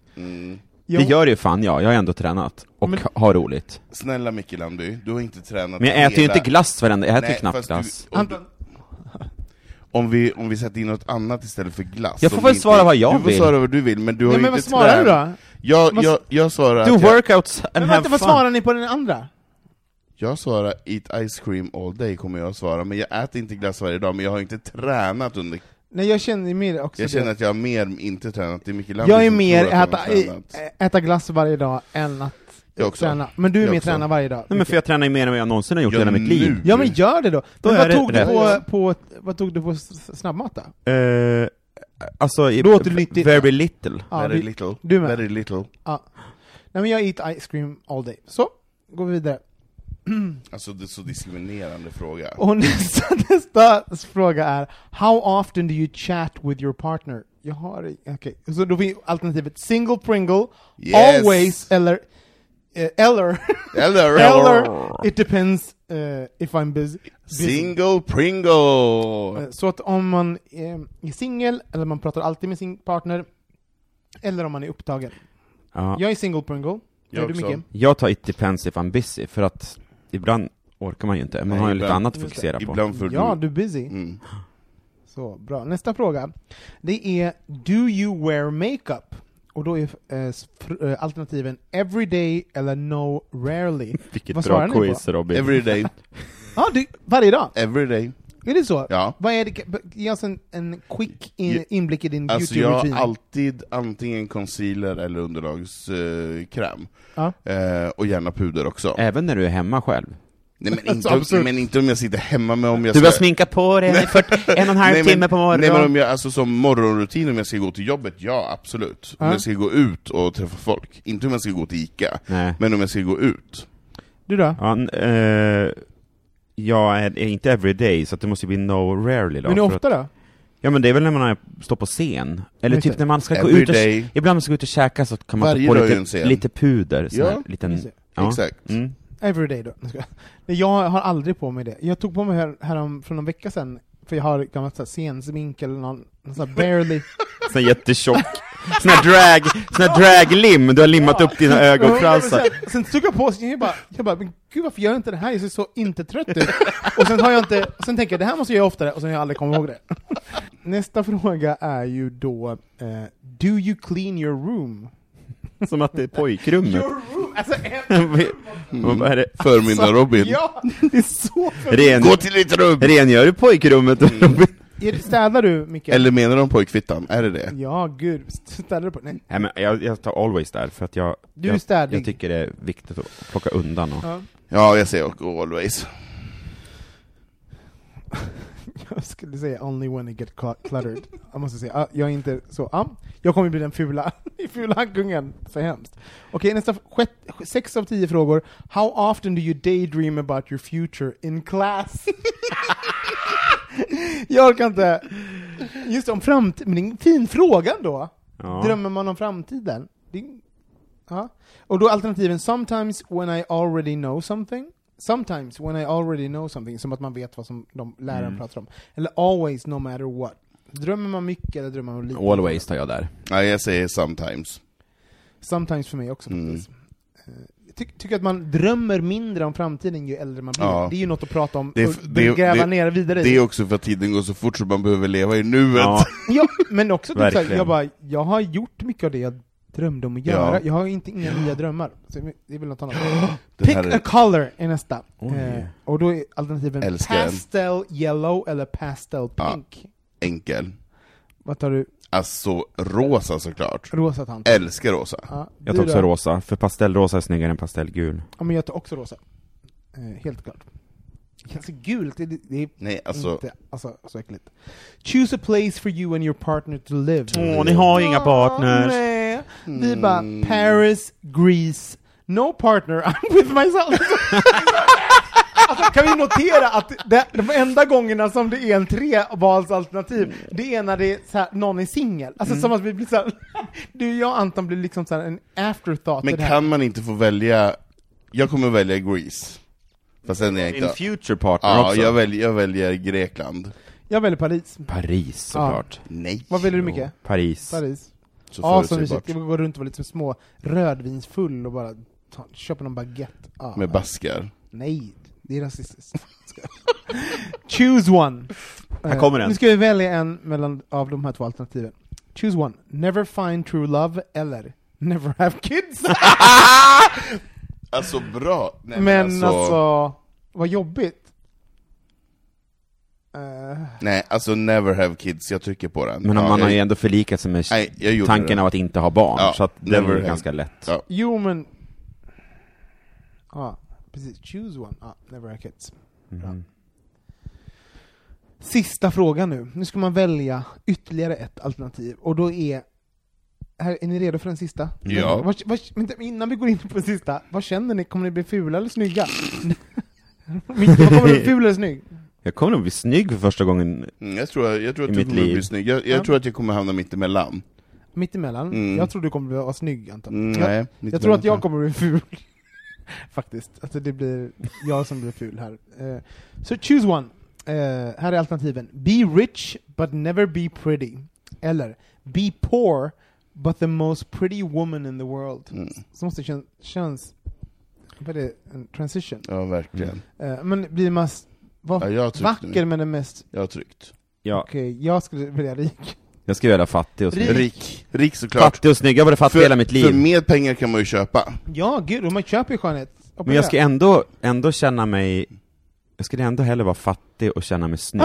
Speaker 4: Det gör ju fan jag, jag har ändå tränat. Och har roligt.
Speaker 5: Snälla Micke Landy, du har inte tränat
Speaker 4: Men jag äter ju
Speaker 5: hela-
Speaker 4: inte glass varenda, jag äter ju
Speaker 5: Nej,
Speaker 4: knappt glass.
Speaker 5: fast du- om, du, om, vi, om vi sätter in något annat istället för glass
Speaker 4: Jag får
Speaker 5: om
Speaker 4: väl
Speaker 5: vi inte-
Speaker 4: svara vad jag
Speaker 5: du
Speaker 4: vill.
Speaker 5: Du får svara vad du vill, men du har
Speaker 3: Ja,
Speaker 5: ju
Speaker 3: men vad
Speaker 5: inte
Speaker 3: svarar du
Speaker 5: tränat.
Speaker 3: då?
Speaker 5: Jag,
Speaker 3: Vad-
Speaker 5: jag, jag svarar
Speaker 4: Do
Speaker 5: att jag,
Speaker 4: workouts and
Speaker 3: Men
Speaker 4: have
Speaker 3: vänta,
Speaker 4: fun!
Speaker 3: vad svarar ni på den andra?
Speaker 5: jag svarar eat ice cream all day, kommer jag att svara, men jag äter inte glass varje dag, men jag har inte tränat under...
Speaker 3: Nej, jag känner ju mer också
Speaker 5: Jag
Speaker 3: det.
Speaker 5: känner att jag har mer inte tränat, det är Micke Landy
Speaker 3: Jag är
Speaker 5: som
Speaker 3: mer
Speaker 5: tror att han har
Speaker 3: äta, ä-
Speaker 5: tränat.
Speaker 3: äta glass varje dag än att
Speaker 5: Jag också.
Speaker 3: träna. Men du är
Speaker 5: Jag
Speaker 3: mer
Speaker 5: också.
Speaker 3: tränad varje dag.
Speaker 4: Nej men för jag tränar ju mer än vad jag någonsin har gjort i hela mitt liv.
Speaker 5: nu.
Speaker 3: Ja men gör det då!
Speaker 4: Mm. Då
Speaker 3: men
Speaker 4: är
Speaker 3: vad,
Speaker 4: det
Speaker 3: tog du
Speaker 4: rätt.
Speaker 3: på, på, vad tog du på s- snabbmat då?
Speaker 4: Eh, alltså, i,
Speaker 3: Låter nyttigt.
Speaker 4: very little.
Speaker 3: Ja,
Speaker 5: Very
Speaker 3: vi-
Speaker 5: little.
Speaker 3: du med.
Speaker 5: Very little.
Speaker 3: Ja. Nej men jag eat ice cream all day. Så, går vi vidare.
Speaker 5: Alltså det är så diskriminerande fråga.
Speaker 3: Och nästa, nästa fråga är How often do you chat with your partner? Jag har okej, så då finns alternativet single pringle,
Speaker 5: Yes.
Speaker 3: always eller eh, eller,
Speaker 5: Eller,
Speaker 3: eller it depends eh, if I'm busy. busy.
Speaker 5: Single Pringle!
Speaker 3: Eh, Så att om man eh, är singel, eller man pratar alltid med sin partner, eller om man är upptagen.
Speaker 4: Ja.
Speaker 3: Jag är single pringle.
Speaker 5: Jag
Speaker 3: Är du
Speaker 5: också.
Speaker 3: Micke?
Speaker 4: Jag tar it depends if I'm busy, för att ibland orkar man ju inte, man
Speaker 5: Nej,
Speaker 4: har ju lite
Speaker 5: ibland-
Speaker 4: annat att fokusera på.
Speaker 5: Ibland för
Speaker 3: Ja,
Speaker 5: du...
Speaker 3: du är busy.
Speaker 5: Mm.
Speaker 3: Så, bra. Nästa fråga. Det är Do you wear makeup? Och då är eh, s- fr- eh, alternativen every day eller no rarely.
Speaker 4: Vilket
Speaker 3: Vad svarar
Speaker 4: bra
Speaker 3: ni på?
Speaker 4: quiz Robin.
Speaker 5: Every day,
Speaker 3: Ja, du, varje dag?
Speaker 5: every day.
Speaker 3: Är det så?
Speaker 5: Eh, Ja.
Speaker 3: Vad är det, ge oss en, en quick in,
Speaker 5: Ja.
Speaker 3: inblick i din
Speaker 5: Alltså
Speaker 3: beauty
Speaker 5: jag har
Speaker 3: routine.
Speaker 5: alltid antingen concealer eller underlagskräm.
Speaker 3: Ja. Eh,
Speaker 5: Eh, och gärna puder också.
Speaker 4: Även när du är hemma själv.
Speaker 5: Nej,
Speaker 3: alltså
Speaker 5: men, inte om, nej, men inte om jag sitter hemma med om jag
Speaker 4: Du
Speaker 5: ska-
Speaker 4: börjar sminka på dig i 40 en och en halv
Speaker 5: Nej, men-
Speaker 4: timme på
Speaker 5: Nej men
Speaker 4: morgonen.
Speaker 5: om jag, alltså som morgonrutin om jag ska gå till jobbet, ja absolut. Om
Speaker 3: Ja.
Speaker 5: jag ska gå ut och träffa folk. Inte om jag ska gå till Ica,
Speaker 4: Nej.
Speaker 5: men om jag ska gå ut.
Speaker 3: Du då?
Speaker 4: Ja, n- eh, jag är är inte everyday, så att det måste ju bli no rarely då.
Speaker 3: Men hur
Speaker 4: för
Speaker 3: ofta
Speaker 4: att,
Speaker 3: då?
Speaker 4: Ja men det är väl när man är, står på scen, eller
Speaker 3: Just
Speaker 4: typ
Speaker 3: det.
Speaker 4: när man ska gå
Speaker 5: Every
Speaker 4: ut och,
Speaker 5: day.
Speaker 4: ibland när man ska gå ut och käka så kan man
Speaker 5: Varje
Speaker 4: ta på
Speaker 5: dag är en
Speaker 4: lite,
Speaker 5: scen.
Speaker 4: lite puder, sån
Speaker 5: Ja,
Speaker 4: här
Speaker 3: just
Speaker 4: liten,
Speaker 3: det.
Speaker 4: ja.
Speaker 5: Exakt.
Speaker 4: Mm.
Speaker 3: Everyday då. Nej, Jag har aldrig på mig det. Jag tog på mig här, härom, för någon vecka sedan, för jag har gammalt så här scensmink eller någon, någon så här barely...
Speaker 4: Sån här jättetjock, sån här drag, sån här draglim, du har limmat upp dina ögonfransar.
Speaker 3: Sen, sen tog jag på mig, jag bara, jag bara, men gud varför gör jag inte det här? Jag ser så inte trött ut. Och sen har jag inte, sen tänker jag det här måste jag göra oftare, och sen har jag aldrig kommit ihåg det. Nästa fråga är ju då, eh, do you clean your room?
Speaker 4: Som att det är pojkrummet.
Speaker 3: room, alltså en...
Speaker 4: Vad är det?
Speaker 5: Förmyndar-Robin.
Speaker 3: Alltså, Ja, det är så för...
Speaker 4: Ren,
Speaker 5: Gå till Mm. ditt rum!
Speaker 4: rengör du pojkrummet Robin?
Speaker 3: Är det- Städar du, Mikael?
Speaker 5: Eller menar de pojkfittan? Är det det?
Speaker 3: Ja, gud. Städar du på... Nej.
Speaker 4: Nej, men jag, jag tar always där, för att jag,
Speaker 3: Du är
Speaker 4: jag,
Speaker 3: städig.
Speaker 4: jag tycker det är viktigt att plocka undan och...
Speaker 5: Ja, jag säger och always.
Speaker 3: Jag skulle säga only when it get cl- cluttered. Jag måste säga, ah, jag är inte så... Ah, jag kommer bli den fula, fula hankungen. Så hemskt. Okej, nästa. f- Sjätt, sex av tio frågor. How often do you daydream about your future in class? jag orkar inte. Just om framtiden, men det är en fin fråga då.
Speaker 4: Ja.
Speaker 3: Drömmer man om framtiden? Det är, ja. Och då alternativen sometimes when I already know something. Sometimes when I already know something, som att man vet vad som de läraren
Speaker 5: Mm.
Speaker 3: pratar om. Eller always no matter what. Drömmer man mycket eller drömmer man lite?
Speaker 4: Always tar jag där.
Speaker 5: Nej, jag säger sometimes.
Speaker 3: Sometimes för mig också
Speaker 5: Mm.
Speaker 3: faktiskt. Eh, Ty tycker att man drömmer mindre om framtiden ju äldre man blir.
Speaker 5: Ja.
Speaker 3: Det är ju något att prata om
Speaker 5: Det är
Speaker 3: och
Speaker 5: f- det-
Speaker 3: gräva
Speaker 5: det-
Speaker 3: ner vidare
Speaker 5: Det
Speaker 3: i.
Speaker 5: är också för att tiden går så fort så man behöver leva i nuet.
Speaker 4: Ja.
Speaker 3: Ja, men också typ såhär,
Speaker 4: Verkligen.
Speaker 3: jag bara, jag har gjort mycket av det jag drömde om att göra.
Speaker 5: Ja.
Speaker 3: Jag har inte inga nya drömmar. Så det är väl något annat.
Speaker 5: Den
Speaker 3: Pick
Speaker 5: här är-
Speaker 3: a color är nästa.
Speaker 4: Oj.
Speaker 3: Eh, och då är alternativen
Speaker 5: Älskar den.
Speaker 3: pastel yellow eller pastel
Speaker 5: Ja.
Speaker 3: pink.
Speaker 5: Enkel.
Speaker 3: Vad tar du?
Speaker 5: Alltså, rosa såklart.
Speaker 3: Rosa tant.
Speaker 5: Älskar rosa.
Speaker 3: Ja,
Speaker 4: Jag
Speaker 3: du
Speaker 4: tar också
Speaker 3: då?
Speaker 4: rosa, för pastellrosa är snyggare än pastellgul.
Speaker 3: Ja, men jag tar också rosa. Eh, helt klart. Alltså gult, det, det är
Speaker 5: Nej, alltså...
Speaker 3: inte, alltså så äckligt. Choose a place for you and your partner to live.
Speaker 4: Åh, ni har ju inga partners!
Speaker 3: Nej. Vi
Speaker 5: Mm.
Speaker 3: bara Paris, Greece, no partner, I'm with myself. alltså, kan vi notera att det, de enda gångerna som det är en trevalsalternativ, det är när det är så här, någon är singel. Alltså
Speaker 5: Mm.
Speaker 3: som att vi blir så här, du, jag och Anton blir liksom så här en afterthought. i
Speaker 5: Men
Speaker 3: det här.
Speaker 5: kan man inte få välja... Jag kommer välja Greece. Fast sen är jag
Speaker 4: Min
Speaker 5: inte...
Speaker 4: future partner
Speaker 5: Ja,
Speaker 4: också.
Speaker 5: jag väljer, jag väljer Grekland.
Speaker 3: Jag väljer Paris.
Speaker 4: Paris såklart.
Speaker 5: Nej.
Speaker 3: Vad väljer du mycket?
Speaker 4: Paris.
Speaker 3: Paris.
Speaker 5: Så
Speaker 3: Ja, så mysigt.
Speaker 5: förutsägbart.
Speaker 3: Jag går runt och vara lite små rödvinsfull och bara ta, köpa någon baguette. Ja.
Speaker 5: Med baskar.
Speaker 3: Nej, det är rasistiskt. Ska jag- Choose one.
Speaker 4: Här kommer den.
Speaker 3: Nu ska vi välja en mellan, av de här två alternativen. Choose one. Never find true love eller Never have kids.
Speaker 5: Alltså bra! Nej,
Speaker 3: Men alltså... vad jobbigt. Eh,
Speaker 5: Nej, alltså never have kids, jag trycker på den.
Speaker 4: Men
Speaker 5: ja,
Speaker 4: man har
Speaker 5: jag,
Speaker 4: ju ändå förlikat sig med
Speaker 5: Nej, jag gjorde
Speaker 4: tanken
Speaker 5: det.
Speaker 4: av att inte ha barn,
Speaker 5: Ja,
Speaker 4: så att den
Speaker 5: never
Speaker 4: är
Speaker 5: had.
Speaker 4: ganska lätt.
Speaker 5: Ja.
Speaker 3: jo men... Ja, precis. Choose one. Ja, never have kids. Bra.
Speaker 5: Mhm.
Speaker 3: Sista frågan nu. Nu ska man välja ytterligare ett alternativ, och då är... Här, är ni redo för den sista?
Speaker 5: Ja.
Speaker 3: Vad, vad, vänta, innan vi går in på den sista, vad känner ni? Kommer ni bli fula eller snygga? Micke, vad kommer du bli ful eller snygg?
Speaker 4: Jag kommer nog bli snygg för första gången.
Speaker 5: Mm, jag tror, jag tror
Speaker 4: I
Speaker 5: att du
Speaker 4: mitt
Speaker 5: kommer
Speaker 4: liv.
Speaker 5: bli snygg. Jag, jag
Speaker 3: Ja.
Speaker 5: tror att jag kommer hamna mitt emellan.
Speaker 3: Mittemellan?
Speaker 5: Mm.
Speaker 3: Jag tror du kommer vara snygg Anton.
Speaker 5: Mm,
Speaker 3: jag,
Speaker 5: nej,
Speaker 3: jag tror att jag kommer bli ful. Faktiskt. Alltså det blir jag som blir ful här. Eh, Så choose one. Eh, här är alternativen. Be rich but never be pretty. Eller Be poor but the most pretty woman in the world.
Speaker 5: Mm.
Speaker 3: Så måste det kän- känns... Vad är det? En transition?
Speaker 5: Ja, verkligen.
Speaker 3: Eh, men blir man s- va-
Speaker 5: Ja, jag tyckte
Speaker 3: vacker men den mest...
Speaker 5: Jag har tryckt.
Speaker 4: Ja,
Speaker 3: Okej, jag skulle välja rik.
Speaker 4: jag ska göra fattig och snygg.
Speaker 5: Rik. Rik såklart.
Speaker 4: Fattig och snygg, jag har varit fattig hela mitt
Speaker 5: för
Speaker 4: liv.
Speaker 5: mer pengar kan man ju köpa.
Speaker 3: Ja, gud, och man köper ju skönhet.
Speaker 4: Men jag ska ändå, ändå känna mig... Jag skulle ändå hellre vara fattig och känna mig snygg.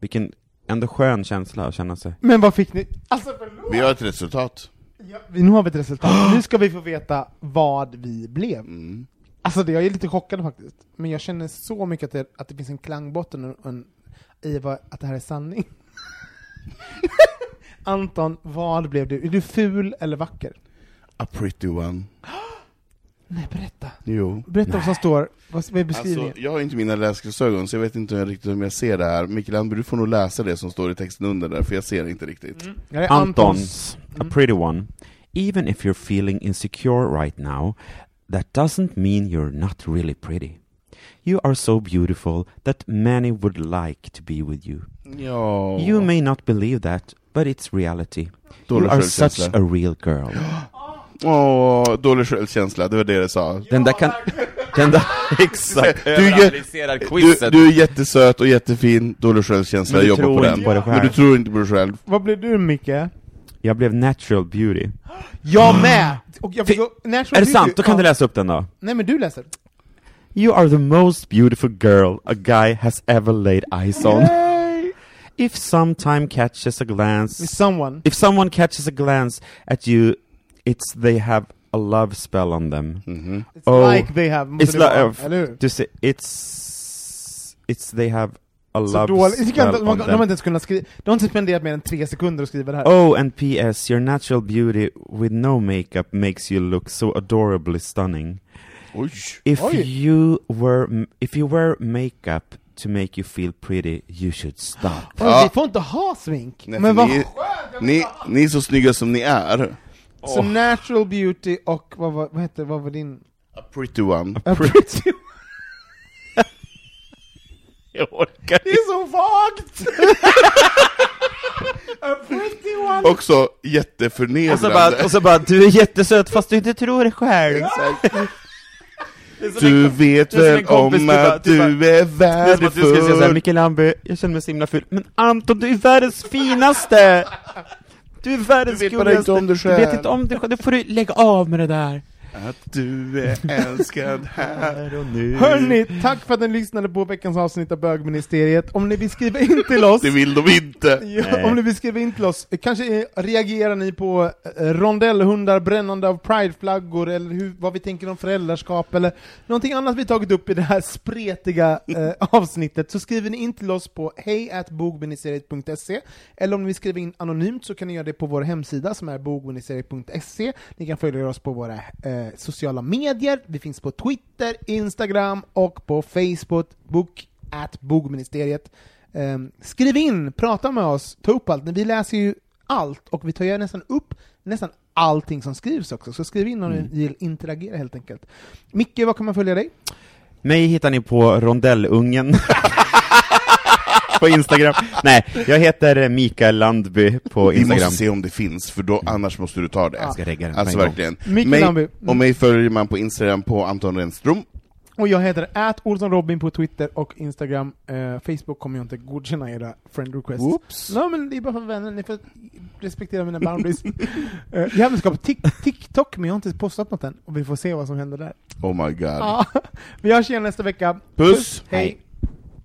Speaker 4: Vilken ändå skön känsla att känna sig.
Speaker 3: Men vad fick ni? Alltså förlåt!
Speaker 5: Vi har ett resultat.
Speaker 3: Ja, vi, nu har vi ett resultat. Nu ska vi få veta vad vi blev.
Speaker 5: Mm.
Speaker 3: Alltså det, jag är lite chockad faktiskt. Men jag känner så mycket att det, att det finns en klangbotten och en, i vad, att det här är sanning. Anton, vad blev du? Är du ful eller vacker?
Speaker 5: A pretty one.
Speaker 3: Nej, berätta.
Speaker 5: Jo.
Speaker 3: Berätta vad som står, vad, vad är beskrivningen?
Speaker 5: Alltså, jag har inte mina läsglasögon, så jag vet inte riktigt om jag ser det här. Mikael Andberg, du får nog läsa det som står i texten under där, för jag ser inte riktigt.
Speaker 4: Alltså,
Speaker 3: Ja, det är
Speaker 4: Antons, Mm. a pretty one. Even if you're feeling insecure right now, that doesn't mean you're not really pretty. You are so beautiful that many would like to be with you.
Speaker 5: Ja.
Speaker 4: You may not believe that, but it's reality.
Speaker 5: Dålig
Speaker 4: you are such
Speaker 5: självkänsla.
Speaker 4: a real girl.
Speaker 5: Åh, dålig självkänsla, det var det det sa.
Speaker 4: Den där kan... Den där... Exakt!
Speaker 5: Du är- Du, du är jättesöt och jättefin, dålig självkänsla,
Speaker 4: Men du
Speaker 5: jobbar
Speaker 4: tror
Speaker 5: på den.
Speaker 4: inte på dig själv.
Speaker 5: Men du tror inte på dig själv.
Speaker 3: Vad blev du Micke?
Speaker 4: Jag blev natural beauty.
Speaker 3: Jag med! Och jag fick
Speaker 4: Fi-
Speaker 3: gå, natural
Speaker 4: Är det
Speaker 3: beauty-
Speaker 4: sant? Då kan
Speaker 3: ja.
Speaker 4: du läsa upp den då.
Speaker 3: Nej men du läser.
Speaker 4: You are the most beautiful girl a guy has ever laid eyes on. If sometime catches a glance,
Speaker 3: With someone.
Speaker 4: if someone catches a glance at you, it's they have a love spell on them.
Speaker 5: Mhm.
Speaker 3: It's
Speaker 4: Oh,
Speaker 3: like they have, måste
Speaker 4: it's
Speaker 3: det vara,
Speaker 4: like-
Speaker 3: eller hur?
Speaker 4: Du ser, it's, it's they have a
Speaker 3: Så
Speaker 4: love
Speaker 3: dåligt. Jag tycker
Speaker 4: spell
Speaker 3: inte- man-
Speaker 4: on
Speaker 3: De har
Speaker 4: them.
Speaker 3: inte ens kunnat skriva, de har inte spenderat mer än tre sekunder att skriva det här.
Speaker 4: Oh, and P.S. Your natural beauty with no makeup makes you look so adorably stunning.
Speaker 5: Oj!
Speaker 4: If
Speaker 3: Oj.
Speaker 4: you were, if you wear makeup to make you feel pretty, you should stop.
Speaker 3: Oj,
Speaker 5: Ja.
Speaker 3: Vi får inte ha smink!
Speaker 5: Nej,
Speaker 3: men
Speaker 5: för
Speaker 3: vad
Speaker 5: ni, ni, ni är så snygga som ni är.
Speaker 3: Så natural beauty och vad, var- vad, hette, vad var din...
Speaker 5: A pretty one.
Speaker 3: A pretty-
Speaker 4: Jag orkar
Speaker 3: Det är så vagt! A pretty one!
Speaker 5: Också
Speaker 4: Och så, Alltså, bara,
Speaker 5: jätteförnedrande.
Speaker 4: och så bara, du är jättesöt fast du inte tror det själv.
Speaker 5: Du vet
Speaker 4: det är som en
Speaker 5: väl
Speaker 4: kompis, du
Speaker 5: om
Speaker 4: bara-
Speaker 5: att
Speaker 4: du bara-
Speaker 5: du är
Speaker 4: Det är som att du skulle säga såhär,
Speaker 5: värdefull.
Speaker 4: Micke Lambe, jag känner mig så himla ful. Men Anton, du är världens finaste! Du är världens
Speaker 5: Du vet bara
Speaker 4: gulligaste.
Speaker 5: inte om dig
Speaker 4: Du
Speaker 5: själv.
Speaker 4: vet inte om dig själv, då får du lägga av med det där.
Speaker 5: Att du är älskad här.
Speaker 4: Här och nu.
Speaker 3: Hörni, tack för att ni lyssnade på veckans avsnitt av bögministeriet. Om ni vill skriva in till oss,
Speaker 5: Det vill de inte.
Speaker 3: ja, om ni vill skriva in till oss, kanske eh, reagerar ni på eh, rondellhundar, brännande av prideflaggor, eller hur, vad vi tänker om föräldraskap, eller någonting annat vi tagit upp i det här spretiga eh, avsnittet, så skriver ni in till oss på hejatbogministeriet.se, eller om ni vill skriva in anonymt så kan ni göra det på vår hemsida som är bogministeriet.se. Ni kan följa oss på våra eh, sociala medier, vi finns på Twitter, Instagram och på Facebook, bok at bogministeriet. Ehm, skriv in, prata med oss, ta upp allt. Vi läser ju allt och vi tar ju nästan upp nästan allting som skrivs också. Så skriv in om ni vill interagera helt enkelt. Micke, var kan man följa dig?
Speaker 4: Mig hittar ni på rondellungen. på Instagram. Nej, jag heter Mikael Landby på
Speaker 5: Vi måste
Speaker 4: Instagram. Mm.
Speaker 5: se om det finns, för då, annars måste du ta det.
Speaker 4: Jag ska regga den.
Speaker 5: Alltså
Speaker 4: på en gång.
Speaker 5: verkligen.
Speaker 3: Micke Landby.
Speaker 5: Mig,
Speaker 3: Mm.
Speaker 5: och mig följer man på Instagram på Anton Renström.
Speaker 3: Och jag heter at Robin på Twitter och Instagram. Eh, Facebook kommer jag inte godkänna era friend requests.
Speaker 5: Whoops.
Speaker 3: Nej men det är bara för vänner, ni får respektera mina boundaries. Eh, jag har skapat Tik- TikTok men jag har inte postat något än, och vi får se vad som händer där.
Speaker 5: Oh my god.
Speaker 3: Ja. Vi hörs igen nästa vecka.
Speaker 5: Puss.
Speaker 3: Hej!